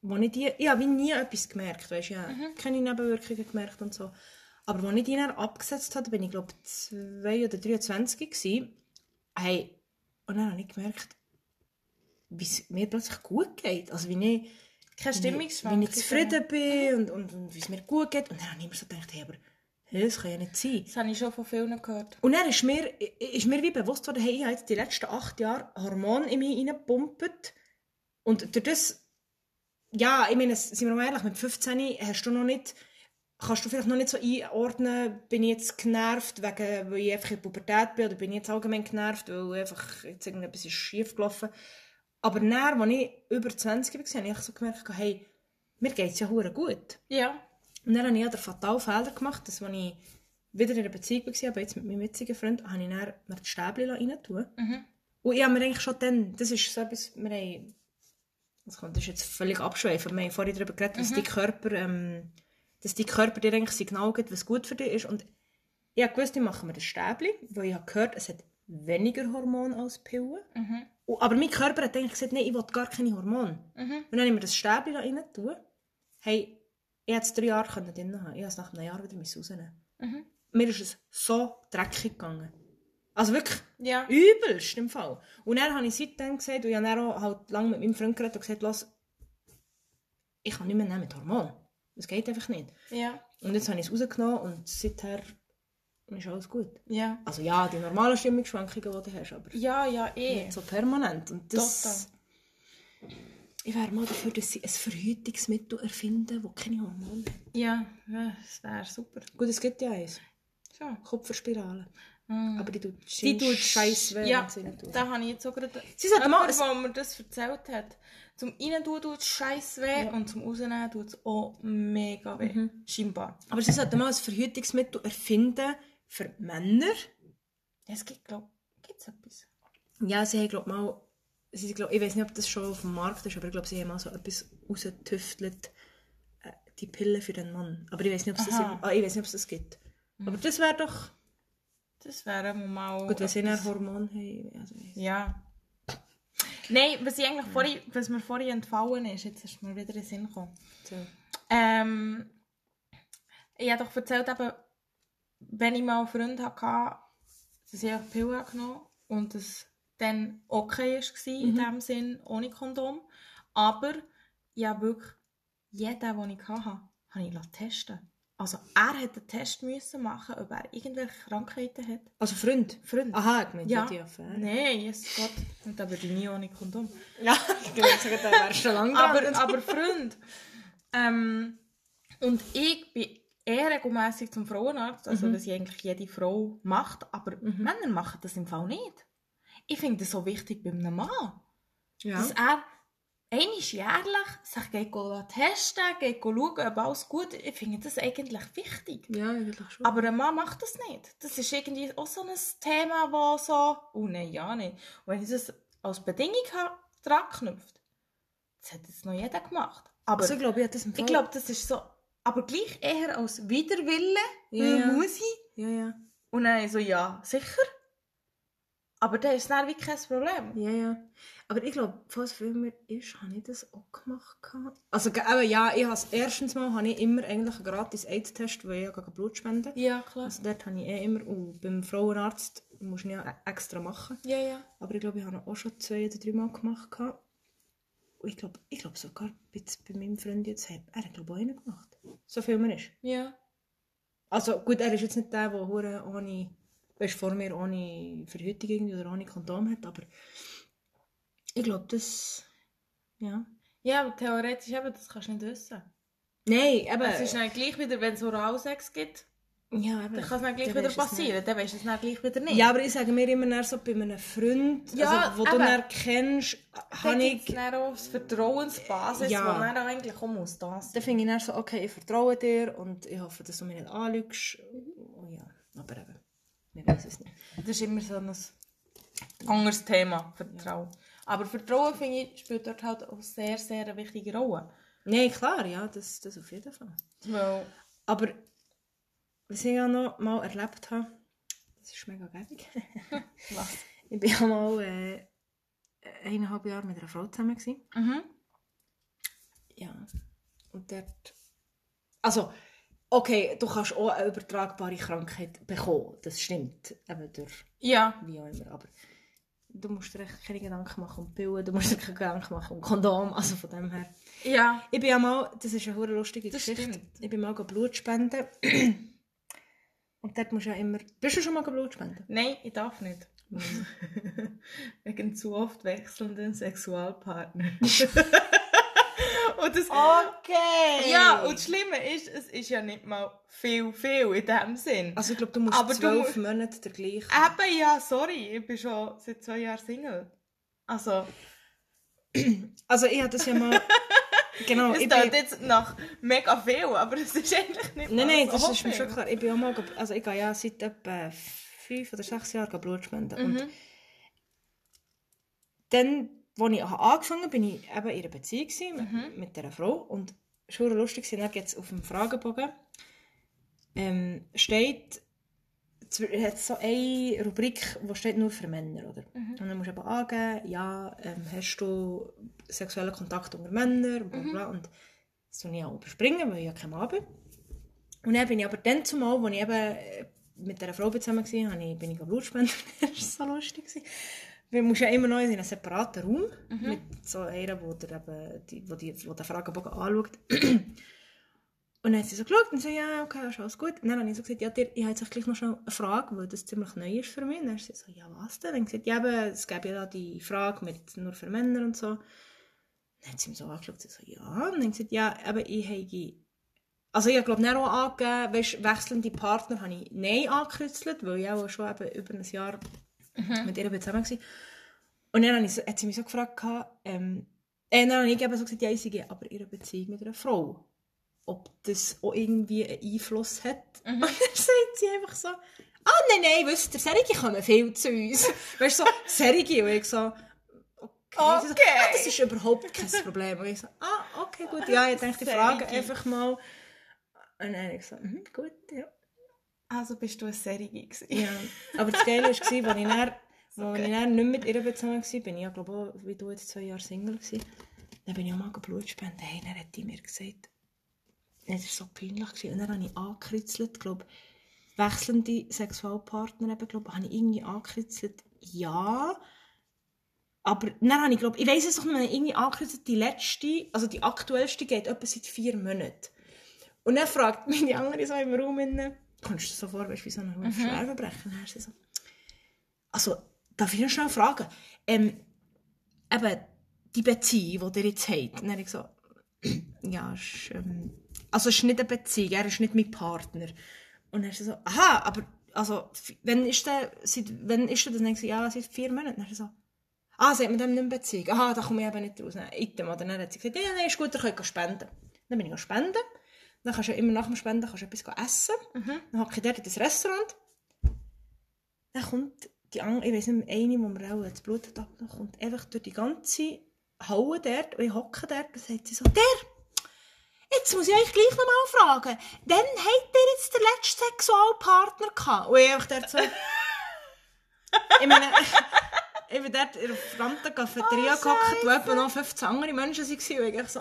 S2: wo ich die, ich habe wie nie etwas gemerkt, weißt du, ich habe keine Nebenwirkungen gemerkt und so. Aber als ich die dann abgesetzt habe, bin ich glaube ich 2 oder 23 gewesen. Hey, und dann habe ich gemerkt, wie es mir plötzlich gut geht. Also wie ich
S1: Keine genau.
S2: wie,
S1: Stimmungsschwankungen.
S2: wie ich zufrieden bin und, und, und wie es mir gut geht. Und dann habe ich immer so gedacht, hey, aber hey, das kann ja nicht sein.
S1: Das habe ich schon von vielen gehört.
S2: Und dann ist mir, i- ist mir wie bewusst worden, hey, ich habe jetzt die letzten acht Jahre Hormone in mich reingepumpt. Und durch das, ja, ich meine, sind wir mal ehrlich, mit 15 hast du noch nicht, kannst du vielleicht noch nicht so einordnen, bin ich jetzt genervt, wegen, weil ich einfach in der Pubertät bin, oder bin ich jetzt allgemein genervt, weil einfach jetzt irgendetwas ist schief gelaufen. Aber dann, als ich über 20 war, habe ich echt so gemerkt, hey, mir geht es ja hure gut.
S1: Ja.
S2: Und dann habe ich ja den fatalen Fehler gemacht, dass wenn ich wieder in einer Beziehung war, aber jetzt mit meinem jetzigen Freund, habe ich dann mir die Stäbchen rein tun.
S1: Mhm.
S2: Und ich habe mir eigentlich schon dann, das ist so etwas, wir haben, das kommt- das ist jetzt völlig abschweifen, wir haben vorhin darüber geredet, dass dein Körper, ähm, dass dein Körper dir eigentlich Signal gibt, was gut für dich ist. Und ich habe gewusst, ich mache mir das Stäbchen, weil ich habe gehört, es hat weniger Hormone als Pillen.
S1: Mhm.
S2: Und- Aber mein Körper hat eigentlich gesagt, nein, ich will gar keine Hormone.
S1: Mhm.
S2: Und dann habe ich mir das Stäbchen da rein tun. Hey, ich hätte es drei Jahre können drin haben. Ich habe es nach einem Jahr wieder rausnehmen müssen.
S1: Mhm.
S2: Mir ist es so dreckig gegangen. Also wirklich
S1: Ja.
S2: übelst im Fall. Und dann habe ich seitdem gesagt, und ich habe dann auch halt lange mit meinem Freund geredet und gesagt, «Lass, ich kann nicht mehr nehmen mit Hormonen. Das geht einfach nicht.
S1: Ja.
S2: Und jetzt habe ich es rausgenommen und seither ist alles gut.
S1: Ja.
S2: Also ja, die normalen Stimmungsschwankungen, die du hast, aber
S1: Ja, ja, eh.
S2: nicht so permanent. Und das...
S1: Total.
S2: Ich wäre mal dafür, dass sie ein Verhütungsmittel erfinden, das keine Hormone hat.
S1: Ja, ja, das wäre super.
S2: Gut, es gibt ja eins.
S1: So.
S2: Kopfspirale.
S1: Mm.
S2: Aber die tut, die tut scheiß weh,
S1: Ja,
S2: wenn sie nicht tut.
S1: da habe ich jetzt auch gerade...
S2: Sie sollte mal
S1: Jemand, der mir das erzählt hat. Zum Reintun tut es scheiß weh und zum Rausnehmen tut es auch mega weh.
S2: Mhm.
S1: Scheinbar.
S2: Aber sie sollten mal ein Verhütungsmittel erfinden für Männer.
S1: Ja, Es gibt, glaube ich, gibt es etwas?
S2: Ja, sie haben, glaube ich, mal... Sie, sind, glaub, ich weiß nicht, ob das schon auf dem Markt ist, aber ich glaube, sie haben mal so etwas rausgetüftelt. Äh, die Pille für den Mann. Aber ich weiß nicht, ob es das,
S1: Aha. Mm.
S2: ah, ich weiss nicht, ob es das gibt. Aber das wäre doch...
S1: Das wäre mal...
S2: Gut, wenn sie
S1: etwas.
S2: ein Hormon haben. Also, ich weiss.
S1: Ja. Nein, was, ich eigentlich vorhin, was mir vorhin entfallen ist, jetzt ist mir wieder in den Sinn gekommen.
S2: So.
S1: Ähm, ich habe doch erzählt, eben, wenn ich mal einen Freund hatte, dass ich auch Pillen genommen habe und es dann okay war, in dem Sinn, ohne Kondom. Aber ich habe wirklich jeden, den ich hatte, habe ich lassen testen Also er hätte einen Test müssen machen, ob er irgendwelche Krankheiten hat.
S2: Also Freund?
S1: Freund.
S2: Aha, ich meine,
S1: Ja.
S2: die Affäre.
S1: Nein, yes, Gott. Und da würde ich nie ohne Kondom.
S2: [laughs] Ja, ich würde sagen, da wärst du schon lange
S1: aber,
S2: gelandet.
S1: aber Freund. Ähm, und ich bin eher regelmässig zum Frauenarzt, also was ja eigentlich jede Frau macht, aber Männer machen das im Fall nicht. Ich finde das so wichtig bei einem Mann, dass
S2: ja.
S1: er einmal jährlich sich geht go testen, geht go schauen, ob alles gut ist. Ich finde das eigentlich wichtig.
S2: ja, eigentlich schon.
S1: Aber ein Mann macht das nicht. Das ist irgendwie auch so ein Thema, wo so, oh nein, ja nicht. Und wenn ich das als Bedingung habe, dran knüpft, das hat jetzt noch jeder gemacht. Aber
S2: also, ich glaube, ich hätte das im Fall.
S1: ich glaube, das ist so, aber gleich eher als Widerwille,
S2: Ja,
S1: weil
S2: ja.
S1: muss ich.
S2: Ja, ja.
S1: Und dann so, ja, sicher. Aber dann ist es dann wie kein Problem.
S2: Ja, ja. Aber ich glaube, was viel mehr ist, habe ich das auch gemacht. gehabt. Also, ge- eben, ja, ich has, erstens mal habe ich immer eigentlich einen gratis AIDS-Test, weil ich ja gar kein Blut spende.
S1: Ja, klar.
S2: Also, dort habe ich eh immer, und beim Frauenarzt musst du ihn ja e- extra machen.
S1: Ja, ja.
S2: Aber ich glaube, ich habe ihn auch schon zwei oder drei Mal gemacht. gehabt. Und ich glaube, ich glaube sogar jetzt bei meinem Freund jetzt, hat- er hat glaube ich auch einen gemacht. So viel man ist.
S1: Ja.
S2: Also gut, er ist jetzt nicht der, der hure ohne, weißt, vor mir ohne Verhütung irgendwie oder ohne Kondom hat, aber ich glaube, das, ja.
S1: Ja, aber theoretisch eben, das kannst du nicht wissen.
S2: Nein, eben.
S1: Es ist dann gleich wieder, wenn es Oralsex gibt,
S2: ja, eben.
S1: dann kann es dann gleich
S2: Dann
S1: wieder
S2: weisst du es
S1: passieren. Dann weißt du es dann gleich wieder nicht.
S2: Ja, aber ich sage mir immer dann so bei einem Freund,
S1: Ja,
S2: also, wo du
S1: eben.
S2: dann kennst,
S1: Dann
S2: habe
S1: gibt's
S2: ich,
S1: dann auch das Vertrauensbasis,
S2: Ja.
S1: wo man dann eigentlich auch muss da sein.
S2: dann finde ich dann so, okay, ich vertraue dir und ich hoffe, dass du mich nicht anlügst. Oh ja, aber eben, wir wissen es nicht.
S1: Das ist immer so ein anderes Thema, Vertrauen. Aber Vertrauen, finde ich, spielt dort halt auch sehr, sehr eine wichtige Rolle.
S2: Nein, klar, ja, das, das auf jeden Fall.
S1: Weil,
S2: Aber was ich auch noch mal erlebt habe, das ist mega gäbig.
S1: was?
S2: ich bin ja mal äh, eineinhalb Jahre mit einer Frau zusammen. Gewesen.
S1: Mhm.
S2: Ja. Und dort. Also, okay, du kannst auch eine übertragbare Krankheit bekommen. Das stimmt. Eben durch
S1: Ja,
S2: wie auch immer. Aber du musst dir echt keine Gedanken machen um Pillen, du musst dir keine Gedanken machen um Kondom. Also von dem her.
S1: ja.
S2: Ich bin ja mal, das ist eine hure lustige
S1: Das
S2: Geschichte.
S1: stimmt.
S2: Ich bin mal go Blut [clears throat] spenden. Und dort musst du ja immer. Bist du schon mal go Blut spenden?
S1: Nein, ich darf nicht. [laughs] Wegen zu oft wechselnden Sexualpartner. [laughs] und das,
S2: Okay!
S1: Ja, und das Schlimme ist, es ist ja nicht mal viel, viel in dem Sinn.
S2: also ich glaube, du musst
S1: Aber du
S2: zwölf Monate der gleichen.
S1: Eben, ja, sorry, ich bin schon seit zwei Jahren Single. Also,
S2: Also ich hatte das ja mal. Genau,
S1: Es
S2: ich
S1: klingt
S2: bin,
S1: jetzt nach mega viel, aber es ist eigentlich nicht
S2: nein,
S1: mal
S2: nein,
S1: so
S2: das ist mir
S1: viel.
S2: schon klar. Ich bin auch mal, ge- also ich gehe ja eh, seit etwa fünf oder sechs Jahren Blut spenden. Und
S1: Mhm.
S2: dann, als ich angefangen habe, bin ich eben in einer Beziehung gewesen, mit,
S1: Mhm.
S2: mit dieser Frau. Und es war verdammt lustig, gewesen. dann gibt es auf dem Fragebogen, ähm, steht, es hat so eine Rubrik, die steht nur für Männer, oder?
S1: Mhm.
S2: Und dann musst du eben angeben, ja, ähm, hast du sexuellen Kontakt unter Männern, bla bla. bla.
S1: Mhm.
S2: Und das tue ich auch überspringen, weil ich ja keinen Mann bin. Und dann bin ich aber dann zumal, als ich eben äh, mit dieser Frau zusammen war, habe ich, bin ich Blutspender. [laughs] das war so lustig. gewesen. Wir mussten ja immer noch in einen separaten Raum mit so einer, wo der eben die, wo die, wo der Fragebogen anschaut. [clears throat] Und dann hat sie so geschaut und so, ja, okay, ist alles gut. Und dann habe ich so gesagt, ja, dir, ich habe jetzt gleich noch schnell eine Frage, weil das ziemlich neu ist für mich. Und dann hat sie so, ja, was denn? Und dann habe ich gesagt, ja, eben, es gäbe ja da die Frage mit nur für Männer und so. Dann hat sie mich so angeschaut und sie so, ja. Und dann gesagt, ja, eben, ich habe... Also ich glaube, dann auch angegeben, weisst, wechselnde Partner habe ich Nein angekritzelt, weil ich auch schon eben über ein Jahr mit ihr zusammen war. Und dann habe ich, so- hat sie mich so gefragt, gehabt, ähm, äh, dann habe ich eben so gesagt, ja, ich sei aber in einer Beziehung mit einer Frau. Ob das auch irgendwie einen Einfluss hat. [laughs] Und dann sagt sie einfach so, ah nein, nein, wisst ihr, Serige kommen viel zu uns. Weißt du, so, Serige, und ich so, okay. Sie so,
S1: Okay.
S2: ah, das ist überhaupt kein Problem. Und ich so, ah, okay, gut, ja, ich denke, ich frage
S1: Serige.
S2: einfach mal. Und dann habe ich gesagt, mhm, gut, ja.
S1: Also bist du eine Serie gewesen.
S2: Ja, aber das Geile war, als ich dann, wo
S1: Okay.
S2: ich dann nicht mit ihr bezogen war, bin ich ja, glaube auch, wie du jetzt zwei Jahre Single gewesen. Dann bin ich auch mal Blut spenden. Hey, dann hat die mir gesagt, Ja, das war so peinlich. Gewesen. Und dann habe ich angekritzelt, glaube wechselnde Sexualpartner eben, glaube habe ich irgendwie angekritzelt, ja. Aber dann habe ich, glaube ich weiß es doch nicht, mehr, irgendwie angekritzelt, die letzte, also die aktuellste geht etwa seit vier Monaten. Und dann fragt mich die andere so im Raum, innen, kommst du dir so vor, weißt du, wie so ein mhm. Schwerverbrechen? Dann ist sie so, also, darf ich noch schnell fragen? Ähm, eben, die Beziehung, die ihr jetzt habt. Und dann habe ich so, [clears throat] ja, ist, ähm, also es ist nicht eine Beziehung, er ist nicht mein Partner. Und dann ist sie so, aha, aber also, f- wenn ist der, seit, wenn ist der das? Und Dann habe ich so, ja, seit vier Monaten. Dann ist sie so, ah, sie hat mit dem nicht mehr Beziehung. Aha, da komme ich eben nicht raus. Dann, item. Oder dann hat sie gesagt, ja, nein, ist gut, ihr könnt spenden. Dann bin ich spenden. Dann kannst du ja immer nach dem Spenden kannst du etwas essen. Dann hocke ich dort in das Restaurant. Dann kommt die andere, ich weiß nicht, mehr, eine, wo mir auch das Blut hat abgenommen, kommt einfach durch die ganze Halle dort, und ich hocke dort, und sagt sie so, der, jetzt muss ich euch gleich nochmal fragen, wann habt ihr jetzt den letzten Sexualpartner gehabt? Und ich einfach dort so, ich meine, [laughs] ich bin dort in der verdammten Cafeteria
S1: Oh,
S2: gehockt, wo etwa noch 15 andere Menschen waren, und ich echt so,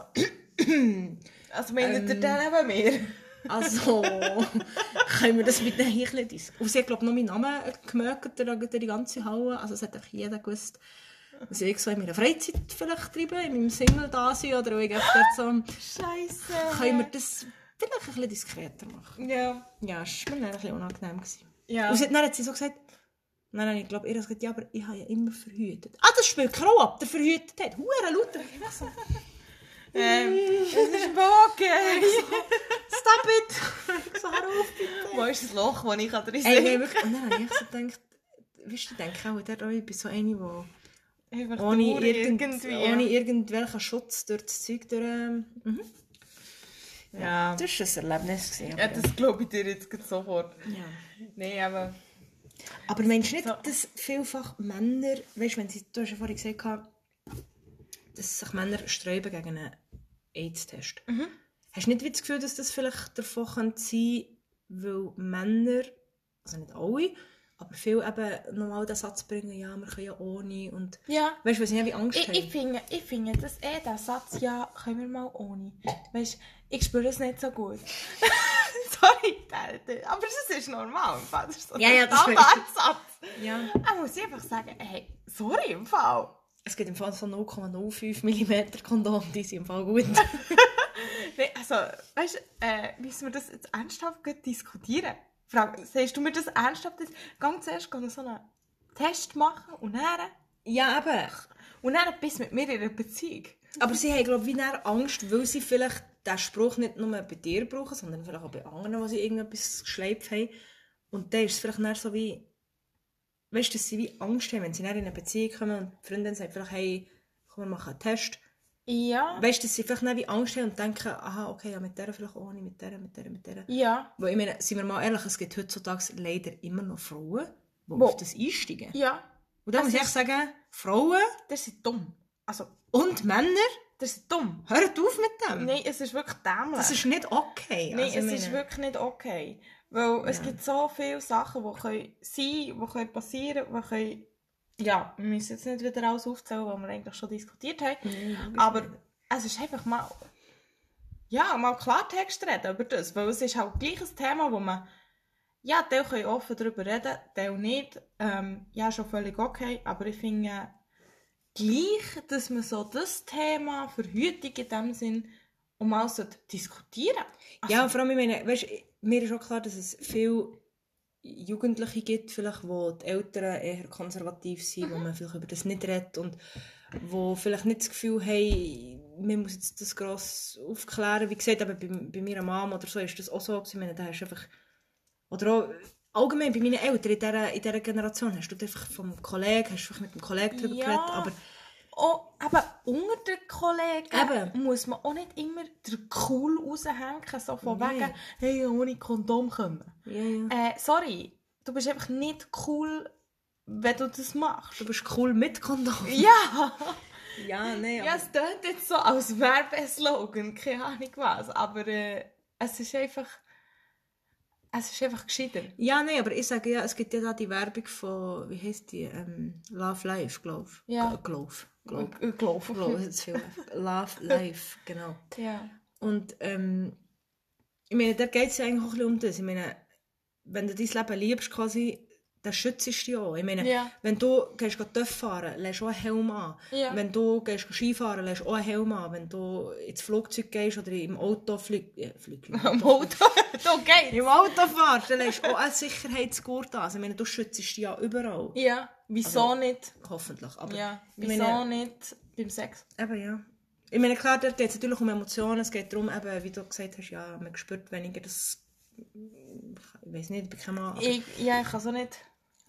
S1: Also meint
S2: Ähm.
S1: ihr den neben mir?
S2: Also, können wir das bitte hier ein bisschen dis- Und sie hat, glaube ich, noch meinen Namen gemerkt, der- der- die ganze Halle. Also, es hat auch jeder gewusst. Und sie hat so in meiner Freizeit vielleicht treiben, in meinem Single-Dasein oder weil ich einfach dort so,
S1: Scheiße.
S2: können wir das vielleicht ein bisschen diskreter machen?
S1: Ja.
S2: Ja, es war mir dann ein bisschen unangenehm. Gewesen.
S1: Ja.
S2: Und sie, dann hat sie so gesagt, nein, nein, ich glaube, ihr hat gesagt, ja, aber ich habe ja immer verhütet. Ah, das spielt keine Rolle, ob der verhütet hat. Hure lauter. Ich weiss nicht.
S1: Ähm, es ist wohl okay.
S2: [laughs] Stop it! [laughs] Ich so, hör auf, bitte.
S1: Wo ist das Loch, wo ich
S2: [laughs]
S1: drin
S2: Ey, nee,
S1: sehe?
S2: wirklich. Und dann habe ich echt so gedacht, weißt du, ich denke auch, der, ich bin so eine, die
S1: Einfach
S2: ohne,
S1: traurig
S2: irgend, ohne
S1: irgendwie.
S2: irgendwelchen Schutz durch das Zeug durch. ähm, Mhm.
S1: Ja.
S2: Das war ein Erlebnis. Gewesen, aber,
S1: Ja, das glaube ich dir jetzt gerade sofort.
S2: ja.
S1: Nein, aber...
S2: aber meinst du nicht,
S1: So.
S2: dass vielfach Männer, weißt du, wenn sie, du hast ja vorhin gesagt, gehabt, dass sich Männer sträuben gegen einen AIDS-Test.
S1: Mhm.
S2: Hast du nicht wie das Gefühl, dass das vielleicht davon kann sein weil Männer, also nicht alle, aber viele eben nochmal den Satz bringen, ja, wir können ja ohne und
S1: Ja.
S2: Weißt du, weil sie irgendwie Angst
S1: Ich,
S2: haben?
S1: ich finde, ich finde das eh, der Satz, ja, können wir mal ohne. Weißt ich spüre es nicht so gut. [laughs] Sorry, der- der- aber das ist normal im Fall. Das ist so
S2: Ja,
S1: der
S2: ja, das
S1: Standardsatz.
S2: ja.
S1: Ich muss einfach sagen, hey, sorry im Fall.
S2: Es gibt im Fall so 0,05 mm Kondom, die sind im Fall gut. [laughs]
S1: Nee, also, weißt du, äh, müssen wir das jetzt ernsthaft gut diskutieren? Frage, siehst du mir das ernsthaft? jetzt- Ganz zuerst gehen wir so einen Test machen und dann,
S2: ja, eben.
S1: und dann bist du mit mir in einer Beziehung.
S2: Aber sie haben, glaube ich, wie dann Angst, weil sie vielleicht diesen Spruch nicht nur bei dir brauchen, sondern vielleicht auch bei anderen, die sie irgendetwas geschleift haben. Und dann ist es vielleicht dann so wie... Weißt du, dass sie wie Angst haben, wenn sie dann in eine Beziehung kommen und die Freundin sagt vielleicht, hey, komm, wir machen einen Test.
S1: Ja.
S2: Weißt du, dass sie vielleicht nicht wie Angst haben und denken, aha, okay, ja, mit der vielleicht auch nicht, mit der, mit der, mit der.
S1: Ja.
S2: Weil ich meine, sind wir mal ehrlich, es gibt heutzutage leider immer noch Frauen, die
S1: Wo-
S2: auf das einsteigen.
S1: Ja.
S2: Und da muss
S1: Es
S2: ich echt sagen, Frauen
S1: Das ist dumm. Also,
S2: und Männer,
S1: das ist dumm.
S2: hört auf mit dem.
S1: Nein, es ist wirklich dämlich.
S2: Das ist nicht okay.
S1: Nein,
S2: Also,
S1: es
S2: ich
S1: ist
S2: meine-
S1: wirklich nicht okay. Weil es
S2: Ja.
S1: gibt so viele Sachen, die können sein können, die können passieren können, die können... Ja, wir müssen jetzt nicht wieder alles aufzählen, was wir eigentlich schon diskutiert haben.
S2: Nein,
S1: Aber es ist einfach mal... Ja, mal Klartext reden über das. Weil es ist halt gleich ein Thema, wo man... Ja, Teil können offen darüber reden, Teil nicht. Ähm, ja, schon völlig okay. Aber ich finde... Gleich, dass man so das Thema Verhütung in dem Sinn um mal sollte diskutieren sollte.
S2: Ja, vor allem, ich meine, weißt, mir ist auch klar, dass es viele Jugendliche gibt, vielleicht, wo die Eltern eher konservativ sind, wo man vielleicht über das nicht redet und wo vielleicht nicht das Gefühl haben, man muss jetzt das gross aufklären. Wie gesagt, eben bei, bei meiner Mom oder so ist das auch so. gewesen. Ich meine, da hast du einfach... Oder auch allgemein bei meinen Eltern in dieser, in dieser Generation hast du einfach vom Kollegen, hast du vielleicht mit dem Kollegen darüber
S1: Ja.
S2: geredet, aber...
S1: Oh, aber unter den Kollegen
S2: Eben.
S1: muss man auch nicht immer den cool raushängen, so von
S2: Nein.
S1: wegen, hey, ohne Kondom kommen.
S2: Ja, ja.
S1: Äh, sorry, du bist einfach nicht cool, wenn du das machst.
S2: Du bist cool mit Kondom.
S1: Ja,
S2: Ja, nein,
S1: [laughs] ja, es tönt jetzt so als Werbeslogan, keine Ahnung was, aber äh, es ist einfach, es ist einfach gescheiter.
S2: Ja, nee, aber ich sage ja, es gibt ja da die Werbung von, wie heißt die? Ähm, Love Life, glaube ich.
S1: Ja.
S2: Glaube Glaube
S1: Ich glaube. [laughs]
S2: Glaube ist viel. Love Life, genau.
S1: Ja.
S2: [laughs] Und ähm, ich meine, da geht es ja eigentlich auch ein bisschen um das. Ich meine, wenn du dein Leben liebst, quasi, dann schützt du dich auch. Ich meine,
S1: Ja.
S2: wenn du gehst go TÜV fahren, lässt du auch einen Helm an.
S1: Ja.
S2: Wenn du gehst go Skifahren, lässt du auch einen Helm an. Wenn du ins Flugzeug gehst oder im Auto fliegst, äh, flieg,
S1: Am
S2: [laughs]
S1: Auto, da geht's.
S2: im Auto fahrst, dann lässt du auch einen Sicherheitsgurt an. Also, ich meine, du schützt dich ja überall.
S1: Ja, wieso
S2: Also-
S1: nicht?
S2: Hoffentlich. Aber,
S1: Ja,
S2: ich
S1: wieso
S2: meine-
S1: nicht beim Sex?
S2: Eben, ja. Ich meine, klar, dort geht es natürlich um Emotionen. Es geht darum, eben, wie du gesagt hast, ja, man spürt weniger das... Ich weiß nicht, ich bin kein Mann. Aber,
S1: Ich, ja, ich kann so nicht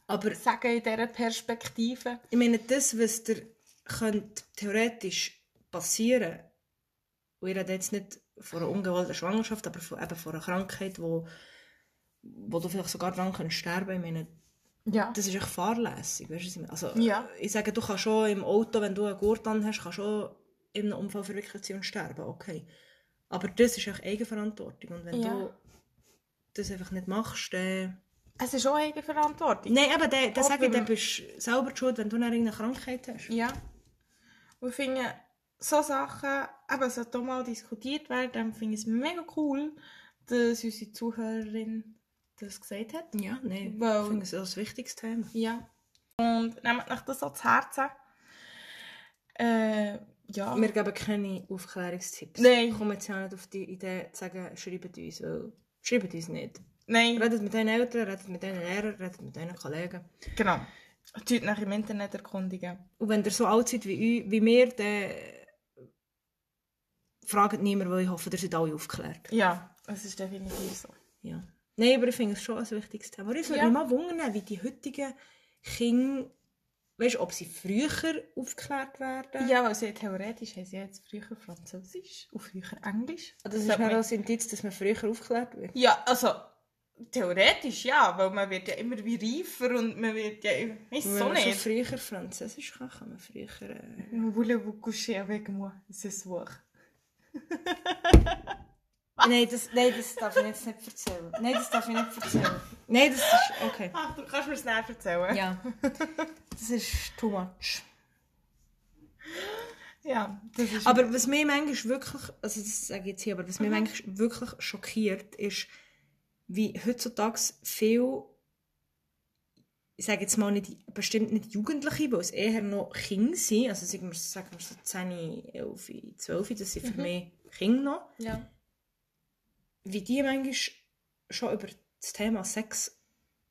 S2: aber
S1: sagen in dieser Perspektive.
S2: ich meine, das, was dir könnte theoretisch passieren und ich rede jetzt nicht von einer ungewollten Schwangerschaft, aber von, eben von einer Krankheit, wo, wo du vielleicht sogar dran könntest sterben. Ich meine,
S1: Ja.
S2: das ist echt fahrlässig, weißt du, was ich meine? Also,
S1: Ja.
S2: ich sage, du kannst schon im Auto, wenn du einen Gurt an hast, kannst schon in einem Unfall verwickelt sein und sterben, okay. Aber das ist echt Eigenverantwortung und wenn
S1: Ja.
S2: du das einfach nicht machst, dann...
S1: Es ist auch Eigenverantwortung.
S2: Nein, aber dann, dann
S1: Auch
S2: sage ich,
S1: beim-
S2: dann bist du selber die schuld, wenn du dann irgendeine Krankheit hast.
S1: Ja. Und ich finde, so Sachen, eben, es sollte auch mal diskutiert werden, dann finde ich es mega cool, dass unsere Zuhörerin das gesagt hat.
S2: Ja, nein,
S1: Weil-
S2: ich finde das ist ein wichtiges Thema.
S1: Ja. Und nehmt euch das so zu Herzen. Äh, ja.
S2: Wir geben keine Aufklärungstipps.
S1: Nein.
S2: Ich komme jetzt auch nicht auf die Idee zu sagen, schreibt uns, weil... Schreibt uns nicht.
S1: Nein,
S2: Redet mit deinen Eltern, redet mit deinen Lehrern, redet mit deinen Kollegen.
S1: genau. Tut nach im Internet erkundigen.
S2: Und wenn ihr so alt seid wie, eu- wie wir, dann fragt niemand, weil ich hoffe, ihr seid alle aufgeklärt.
S1: Ja, es ist definitiv so.
S2: Ja. Nein, aber ich finde es schon ein wichtiges Thema. Aber ich würde
S1: Ja.
S2: mich mal wundern, wie die heutigen Kinder, weißt, ob sie früher aufgeklärt werden.
S1: Ja, also theoretisch haben sie ja jetzt früher Französisch und früher Englisch.
S2: Das ist
S1: Sollte
S2: dann
S1: man-
S2: das Indiz, dass man früher aufgeklärt wird.
S1: Ja, also theoretisch ja, weil man wird ja immer wie reifer und man wird ja immer... Weiss
S2: Weil
S1: so
S2: man schon
S1: nicht.
S2: früher Französisch kann, kann man früher... Äh...
S1: eh. Voulez-vous coucher avec moi ce soir?
S2: Nein, das, nein, das darf ich jetzt nicht erzählen. Nein, das darf ich nicht erzählen. Nein, das ist... Okay.
S1: Ach, du kannst mir es näher erzählen.
S2: Ja. Das ist too much.
S1: ja, das ist...
S2: Aber was mich manchmal wirklich, also das sage ich jetzt hier, aber was mich manchmal wirklich schockiert, ist, wie heutzutage viel, ich sage jetzt mal nicht, bestimmt nicht Jugendliche, weil es eher noch Kinder sind, also sagen wir, sagen wir so 10, 11, 12, das sind für mich Kinder noch,
S1: ja.
S2: wie die manchmal schon über das Thema Sex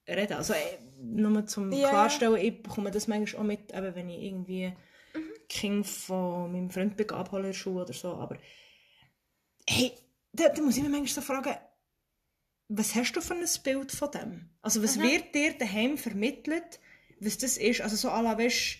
S2: reden. Also äh, nur zum
S1: Ja, ja.
S2: Klarstellen, ich bekomme das manchmal auch mit, eben wenn ich irgendwie
S1: Mhm.
S2: Kinder von meinem Freund bin, abhole in der Schule oder so. Aber hey, da, da muss ich mir manchmal so fragen, was hast du für ein Bild von dem? Also was wird dir daheim vermittelt, was das ist? Also so à la, weißt,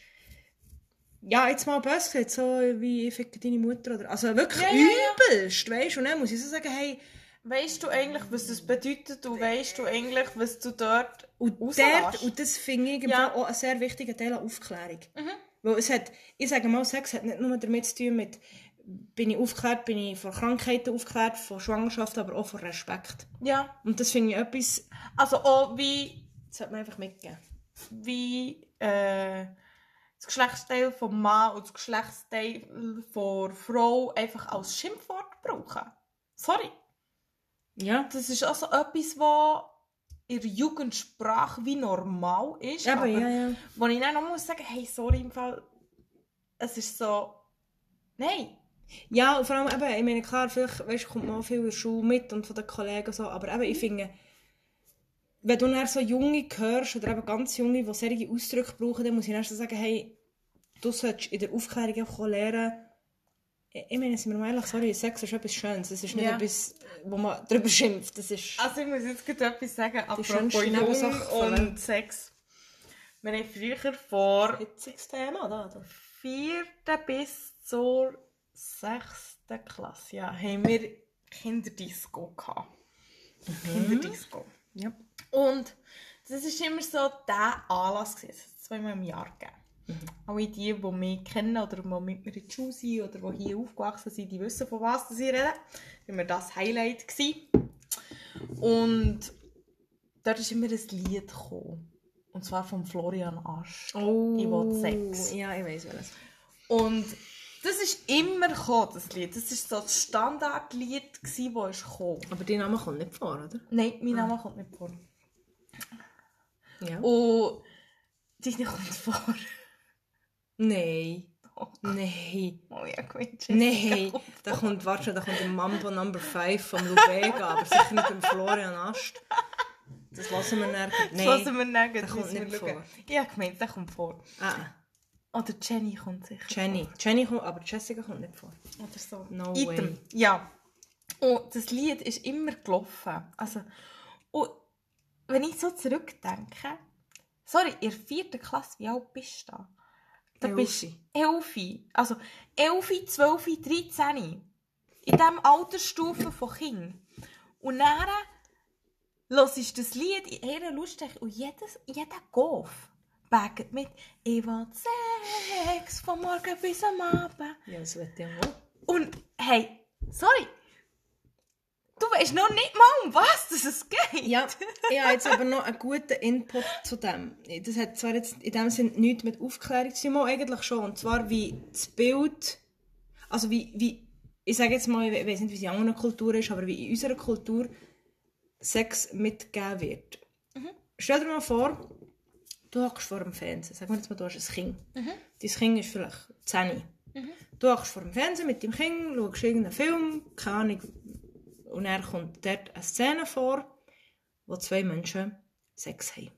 S2: ja, jetzt mal böse gesagt, so wie ich ficke deine Mutter oder... Also wirklich
S1: Ja, ja, ja.
S2: übelst, weißt du? Und dann muss ich so sagen, hey...
S1: Weißt du eigentlich, was das bedeutet und weißt du eigentlich, was du dort
S2: Und,
S1: rauslässt?
S2: dort, und das finde ich im
S1: Ja.
S2: Fall auch einen sehr wichtigen Teil an Aufklärung.
S1: Mhm.
S2: Weil es hat, ich sage mal, Sex hat nicht nur damit zu tun mit, bin ich aufgeklärt, bin ich von Krankheiten aufgeklärt, von Schwangerschaft, aber auch von Respekt.
S1: Ja,
S2: Und das finde ich etwas,
S1: also auch wie,
S2: das sollte man einfach mitgeben.
S1: wie äh, das Geschlechtsteil vom Mann und das Geschlechtsteil von Frau einfach als Schimpfwort brauchen. Sorry.
S2: Ja.
S1: Das ist also etwas, was in der Jugendsprache wie normal ist.
S2: Aber ja, ja.
S1: Wo ich dann noch muss sagen, hey, sorry, im Fall, es ist so, nein.
S2: Ja, und vor allem eben, ich meine, klar, vielleicht weißt, kommt man auch viel in der Schule mit und von den Kollegen so, aber eben, ich finde, wenn du dann so Junge hörst, oder eben ganz Junge, die solche Ausdrücke brauchen, dann muss ich dann so sagen, hey, du solltest in der Aufklärung einfach auch lernen, ich ich meine, sind wir mal ehrlich, sorry, Sex ist etwas Schönes, es ist nicht
S1: Ja.
S2: etwas, wo man drüber schimpft, das ist...
S1: Also ich muss jetzt gerade etwas sagen, apropos
S2: schönste Nebensache von
S1: Jung
S2: allem.
S1: und Sex. Wir haben früher vor
S2: hitziges Thema, da, da.
S1: 4. bis zur 6. Klasse ja, haben wir Kinderdisco gehabt. Kinderdisco.
S2: Ja.
S1: Und das war immer so der Anlass. gewesen. Es hat es zweimal im Jahr gegeben. Alle die, die mich kennen oder die mit mir in der Schule sind oder die hier aufgewachsen sind, die wissen, von was ich rede. Das war immer das Highlight. Gewesen. Und dort ist immer ein Lied gekommen. Und zwar von Florian Asch.
S2: Oh.
S1: Ich will Sex.
S2: Ja, ich weiss welches.
S1: Und das ist immer gekommen, das Lied. Das war so das Standardlied, gewesen, das ist gekommen.
S2: Aber dein Name kommt nicht vor, oder?
S1: Nein, mein Name kommt nicht vor.
S2: Ja.
S1: Oh. Und deine kommt vor. [laughs]
S2: Nein.
S1: Oh.
S2: Nein.
S1: Oh ja, gewünscht.
S2: Nein, da kommt, warte schon, da kommt der Mambo Number 5 vom Lubega, aber sicher nicht dem Florian Ast. Das lassen wir nicht.
S1: Das lassen
S2: Nein.
S1: wir nicht, das
S2: kommt
S1: müssen wir
S2: nicht
S1: schauen.
S2: vor.
S1: Ja, gemeint, der kommt vor.
S2: Ah,
S1: Oder Jenny kommt sicher.
S2: Jenny. Jenny kommt, aber Jessica kommt nicht vor.
S1: vor. Oder so.
S2: No
S1: Item.
S2: way.
S1: Ja. Und das Lied ist immer gelaufen. Also, und wenn ich so zurückdenke, sorry, in der vierten Klasse, wie alt bist du da? Da
S2: Elfi.
S1: bist Elfi. Also Elfi, Zwölfi, Dreizehni. In diesem Altersstufe von Kind. Und dann hörst du das Lied in ihrer Lust und jedes, jeder Golf backt mit «Ich will Sex, von morgen bis am Abend».
S2: Ja, das wird ja wohl.
S1: Und hey, sorry, du weißt noch nicht mal, um was das es geht.
S2: Ja, ich habe jetzt aber noch einen guten Input zu dem. Das hat zwar jetzt in dem Sinn nichts mit Aufklärung zu tun, mal eigentlich schon. Und zwar wie das Bild, also wie, wie ich sage jetzt mal, ich weiß nicht, wie es in anderen Kulturen ist, aber wie in unserer Kultur Sex mitgegeben wird.
S1: Mhm.
S2: Stell dir mal vor, du hockst vor dem Fernsehen. Sag mir jetzt mal, du hast ein Kind. Dein Kind ist vielleicht 10. Du hockst vor dem Fernsehen mit dem Kind, schaust irgendeinen Film, keine Ahnung. Und dann kommt dort eine Szene vor, wo zwei Menschen Sex haben.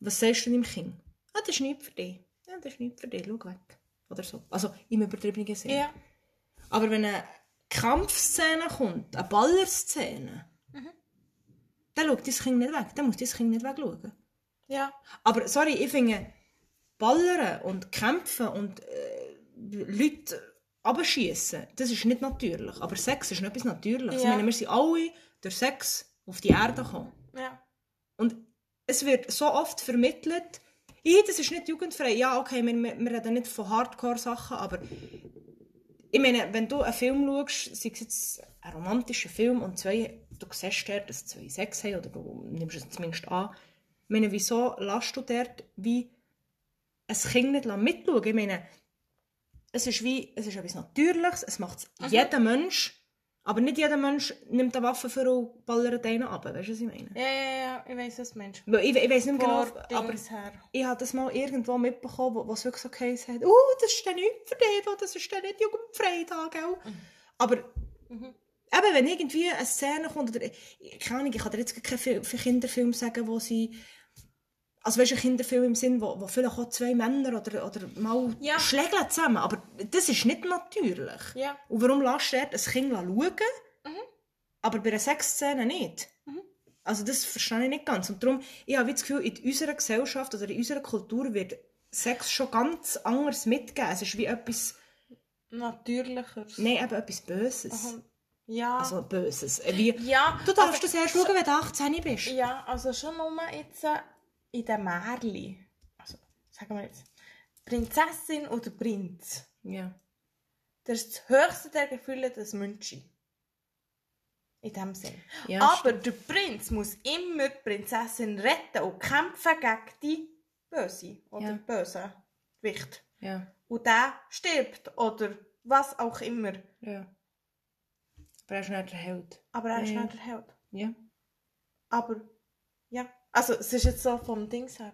S2: Was sagst du deinem Kind? Ah, das ist nichts für dich. Ja, das ist nichts für dich, schau weg. Oder so. Also im übertriebenen Sinn.
S1: Ja.
S2: Aber wenn eine Kampfszene kommt, eine Ballerszene, dann schaut dein Kind nicht weg. Dann muss dein Kind nicht wegschauen.
S1: Ja.
S2: Aber sorry, ich finde, ballern und kämpfen und äh, Leute abschießen, das ist nicht natürlich. Aber Sex ist noch etwas Natürliches. Ich
S1: Ja.
S2: meine, wir sind alle durch Sex auf die Erde gekommen.
S1: Ja.
S2: Und es wird so oft vermittelt, «Ih, das ist nicht jugendfrei. Ja, okay, wir, wir, wir reden nicht von Hardcore-Sachen, aber ich meine, wenn du einen Film schaust, sei es jetzt ein romantischer Film und zwei, du siehst dort, dass zwei Sex haben oder du nimmst es zumindest an, ich meine, wieso lässt du dort wie ein Kind nicht mitschauen? Ich meine, es ist wie, es ist etwas Natürliches, es macht jeder Mensch, aber nicht jeder Mensch nimmt eine Waffe für und ballert einen ab, weißt du, was ich meine?
S1: Ja, ja, ja, ich weiß, was Mensch.
S2: Weil Ich, ich weiß nicht mehr genau,
S1: Vor
S2: aber
S1: Dings her.
S2: ich habe das mal irgendwo mitbekommen, wo, wo es wirklich so geheißen hat, «Uh, das ist dann nicht für dich, da, das ist dann nicht jugendfrei da, gell?» Aber
S1: Mhm.
S2: eben, wenn irgendwie eine Szene kommt, oder ich, keine Ahnung, ich kann dir jetzt keinen Film, für Kinderfilm sagen, wo sie, also weißt du, ein Kinderfilm im Sinn, wo, wo vielleicht auch zwei Männer oder, oder mal
S1: Ja.
S2: schlägeln zusammen, aber das ist nicht natürlich.
S1: Ja.
S2: Und warum lässt du dort ein Kind schauen,
S1: Mhm.
S2: aber bei einer Sexszene nicht? Also das verstehe ich nicht ganz. Und darum, ich habe wie das Gefühl, in unserer Gesellschaft oder in unserer Kultur wird Sex schon ganz anders mitgeben. Es ist wie etwas,
S1: Natürlicher.
S2: nein, eben etwas Böses.
S1: Aha. Ja.
S2: Also Böses. Äh, Wie,
S1: ja.
S2: du
S1: also,
S2: darfst das erst schauen, wenn du 18 bist.
S1: Ja, also schon nur jetzt äh, in den Märli. Also, sagen wir jetzt, Prinzessin oder Prinz.
S2: Ja.
S1: Das ist das höchste der Gefühle des Menschen. In dem Sinn.
S2: Ja,
S1: Aber der Prinz muss immer die Prinzessin retten und kämpfen gegen die Böse oder
S2: Ja.
S1: böse Wicht.
S2: Ja.
S1: Und der stirbt oder was auch immer.
S2: ja. Aber er ist nicht der Held.
S1: Aber er ist
S2: Ja.
S1: nicht der Held.
S2: Ja.
S1: Aber ja, also es ist jetzt so vom Dings her.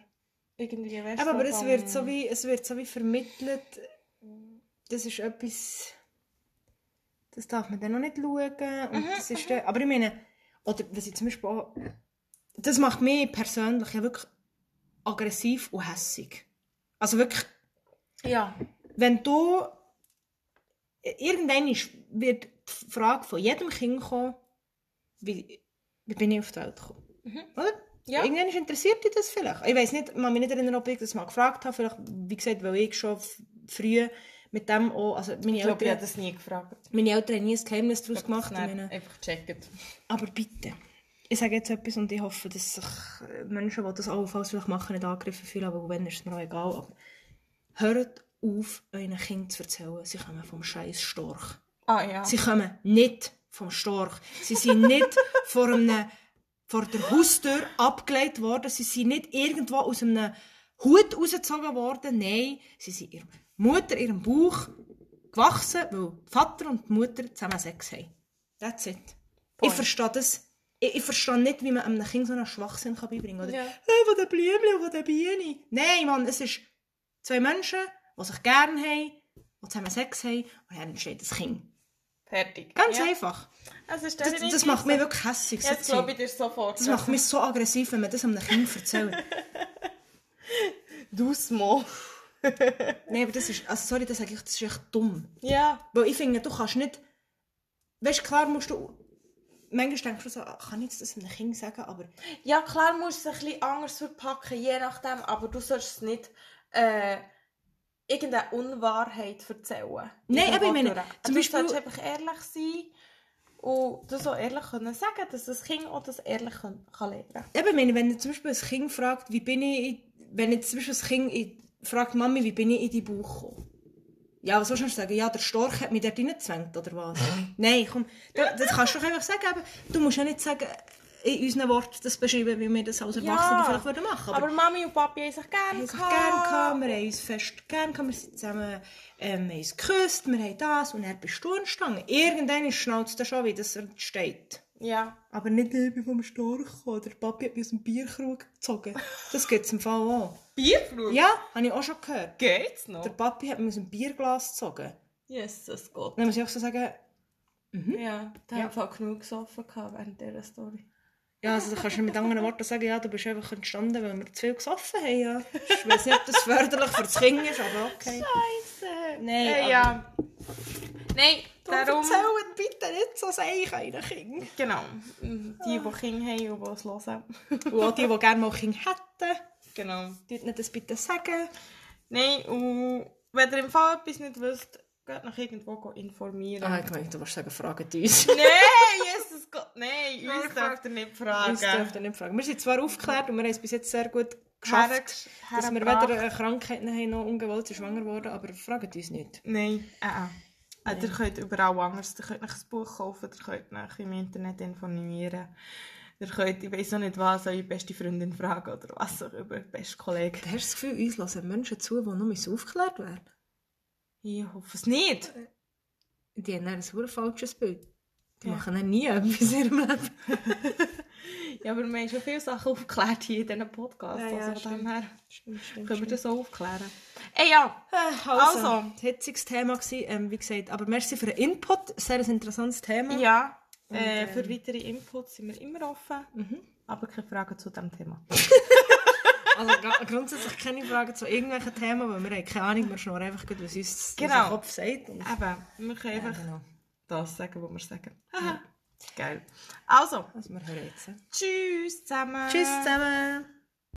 S1: Irgendwie weißt
S2: Aber,
S1: du,
S2: aber es,
S1: vom-
S2: wird so wie, es wird so wie vermittelt, das ist etwas, das darf man dann noch nicht schauen. Und das ist dann, aber ich meine, oder was ich zum Beispiel auch, das macht mich persönlich ja wirklich aggressiv und hässig. Also wirklich,
S1: Ja.
S2: wenn du, irgendwann ist, wird die Frage von jedem Kind kommen, wie, wie bin ich auf die Welt gekommen? Oder?
S1: Mhm. Ja.
S2: Irgendwann ist interessiert dich das vielleicht. Ich weiß nicht, ich kann mich nicht erinnern, ob ich das mal gefragt habe. Vielleicht, wie gesagt, weil ich schon f- früh mit dem auch, also meine
S1: Ich glaube, ich habe
S2: Eltern,
S1: das nie gefragt.
S2: meine Eltern haben nie ein Geheimnis daraus
S1: Ich
S2: gemacht.
S1: habe
S2: Ich
S1: das
S2: meine,
S1: nicht Einfach gecheckt.
S2: aber bitte. Ich sage jetzt etwas und ich hoffe, dass sich äh, Menschen, die das allenfalls vielleicht machen, nicht angegriffen fühlen, aber wenn, ist es mir auch egal. Aber hört auf, euren Kindern zu erzählen, sie kommen vom scheiß Storch.
S1: Ah ja.
S2: Sie kommen nicht vom Storch. Sie
S1: [laughs]
S2: sind nicht vor, einem, vor der Haustür abgelegt worden. Sie sind nicht irgendwo aus einem Hut rausgezogen worden. Nein, sie sind ihrer Mutter, ihrem Bauch gewachsen, weil Vater und die Mutter zusammen Sex haben. That's it.
S1: Point.
S2: Ich verstehe das. Ich, ich verstehe nicht, wie man einem Kind so einen Schwachsinn kann beibringen kann. Oder,
S1: Ja.
S2: hey, wo der Blümchen, wo der Biene. Nein, Mann, es ist zwei Menschen, die sich gerne haben, die zusammen Sex haben und dann entsteht ein Kind.
S1: Fertig.
S2: Ganz
S1: ja.
S2: einfach.
S1: Es ist
S2: Das,
S1: definitiv
S2: das macht mich
S1: so.
S2: wirklich hässlich. so
S1: Jetzt
S2: Zeug.
S1: glaube ich dir sofort.
S2: das macht mich so aggressiv, wenn man das einem Kind
S1: [laughs]
S2: erzählt.
S1: Du Smo.
S2: Nein, aber das ist, also sorry, das sage ich, das ist echt dumm.
S1: Ja.
S2: Weil ich finde, du kannst nicht, weißt klar musst du, manchmal denkst du so, ah, kann ich jetzt das einem Kind sagen, aber
S1: Ja, klar musst du es ein bisschen anders verpacken, je nachdem, aber du sollst es nicht äh, irgendeine Unwahrheit erzählen.
S2: Nein, aber ich
S1: Irgendwo
S2: meine,
S1: durch.
S2: zum
S1: du
S2: Beispiel-
S1: sollst einfach ehrlich sein und das auch ehrlich können sagen, dass das Kind auch das ehrlich kann, kann lernen kann.
S2: eben, ich meine, wenn zum Beispiel ein Kind fragt, wie bin ich, in, wenn jetzt zum Beispiel ein Kind in, fragt, Mami, wie bin ich in die Bauch gekommen? Ja, was sollst du denn sagen? Ja, der Storch hat mich dort reingezwängt, oder was? Nein, komm, das, das kannst du doch einfach sagen, aber du musst ja nicht sagen, in unseren Worten das beschreiben, wie wir das als Erwachsene vielleicht würden machen.
S1: Aber, Mami und Papi haben sich gerne
S2: haben sich gern gehabt, wir haben uns fest gern gehabt, wir sind zusammen, ähm, wir haben uns geküsst, wir haben das und dann bist du entstanden. Irgendwann schnauzt er schon, wie das entsteht.
S1: Ja.
S2: Aber nicht eben vom Storch oder der Papi hat mich aus dem Bierkrug gezogen. Das gibt es im Fall auch.
S1: Bierflut?
S2: Ja, habe ich auch schon gehört.
S1: Geht's noch?
S2: Der Papi hat mich aus dem Bierglas gezogen.
S1: Yes, das geht.
S2: Dann muss ich auch so sagen,
S1: Ja, da
S2: Mhm. Ja.
S1: ja. habe ich genug gesoffen gehabt während dieser Story.
S2: ja, also du kannst nicht mit anderen Worten sagen, ja, du bist einfach entstanden, weil wir zu viel gesoffen haben. Ja. Ich weiß nicht, ob das förderlich für das Kind ist, aber okay.
S1: Scheiße!
S2: Nein,
S1: Äh,
S2: aber-
S1: ja. Nein, darum.
S2: Erzählt bitte nicht so seich euren Kindern.
S1: Genau. Die, die Kinder haben und die es hören.
S2: Und auch die, die gerne mal Kinder hätten,
S1: [laughs] Genau.
S2: dürft nicht das bitte sagen.
S1: Nein, und wenn ihr im Fall etwas nicht wisst, geht nach irgendwo informieren.
S2: Ah, ich meine, du musst sagen, fragen uns.
S1: Nein, Jesus Gott, nein, uns dürft ihr nicht fragen.
S2: Uns dürft ihr nicht fragen. Wir sind zwar aufgeklärt und wir haben es bis jetzt sehr gut geschafft,
S1: Hergesch-
S2: dass wir
S1: hergebracht.
S2: weder äh, Krankheiten haben noch ungewollt sind schwanger wurden, aber fragt uns nicht.
S1: Nein, äh, äh. Äh, Ihr könnt überall anders. Ihr könnt euch ein Buch kaufen, ihr könnt euch im Internet informieren. Ihr könnt, ich weiß auch nicht was, eure beste Freundin fragen oder was auch über beste Kollegen.
S2: Du hast das Gefühl, uns hören Menschen zu, die nur aufgeklärt werden.
S1: Ich hoffe es nicht.
S2: Die haben dann ein verdammt falsches Bild. Die
S1: Ja.
S2: machen dann nie [laughs] etwas in ihrem Leben.
S1: Ja, aber wir haben schon viele Sachen aufgeklärt hier in diesem Podcast.
S2: Ja, ja,
S1: also von dem her
S2: Stimmt, stimmt,
S1: können wir das auch aufklären. Ey, Eh, ja.
S2: Also,
S1: Also.
S2: das hitziges Thema war, ähm, wie gesagt, aber merci für den Input, sehr ein interessantes Thema.
S1: Ja.
S2: Und,
S1: äh,
S2: ähm,
S1: für weitere Inputs sind wir immer eh. offen. Aber keine Fragen zu diesem Thema.
S2: [laughs] Also gr- grundsätzlich keine Fragen zu irgendwelchen Themen, weil wir haben keine Ahnung, wir schnurren einfach gut, was uns
S1: Genau.
S2: unser Kopf sagt. Und
S1: Eben, wir können
S2: Ja,
S1: einfach
S2: Äh, genau.
S1: das sagen, was wir sagen. Haha. Geil. Also.
S2: Also wir hören jetzt.
S1: Tschüss zusammen.
S2: Tschüss zusammen!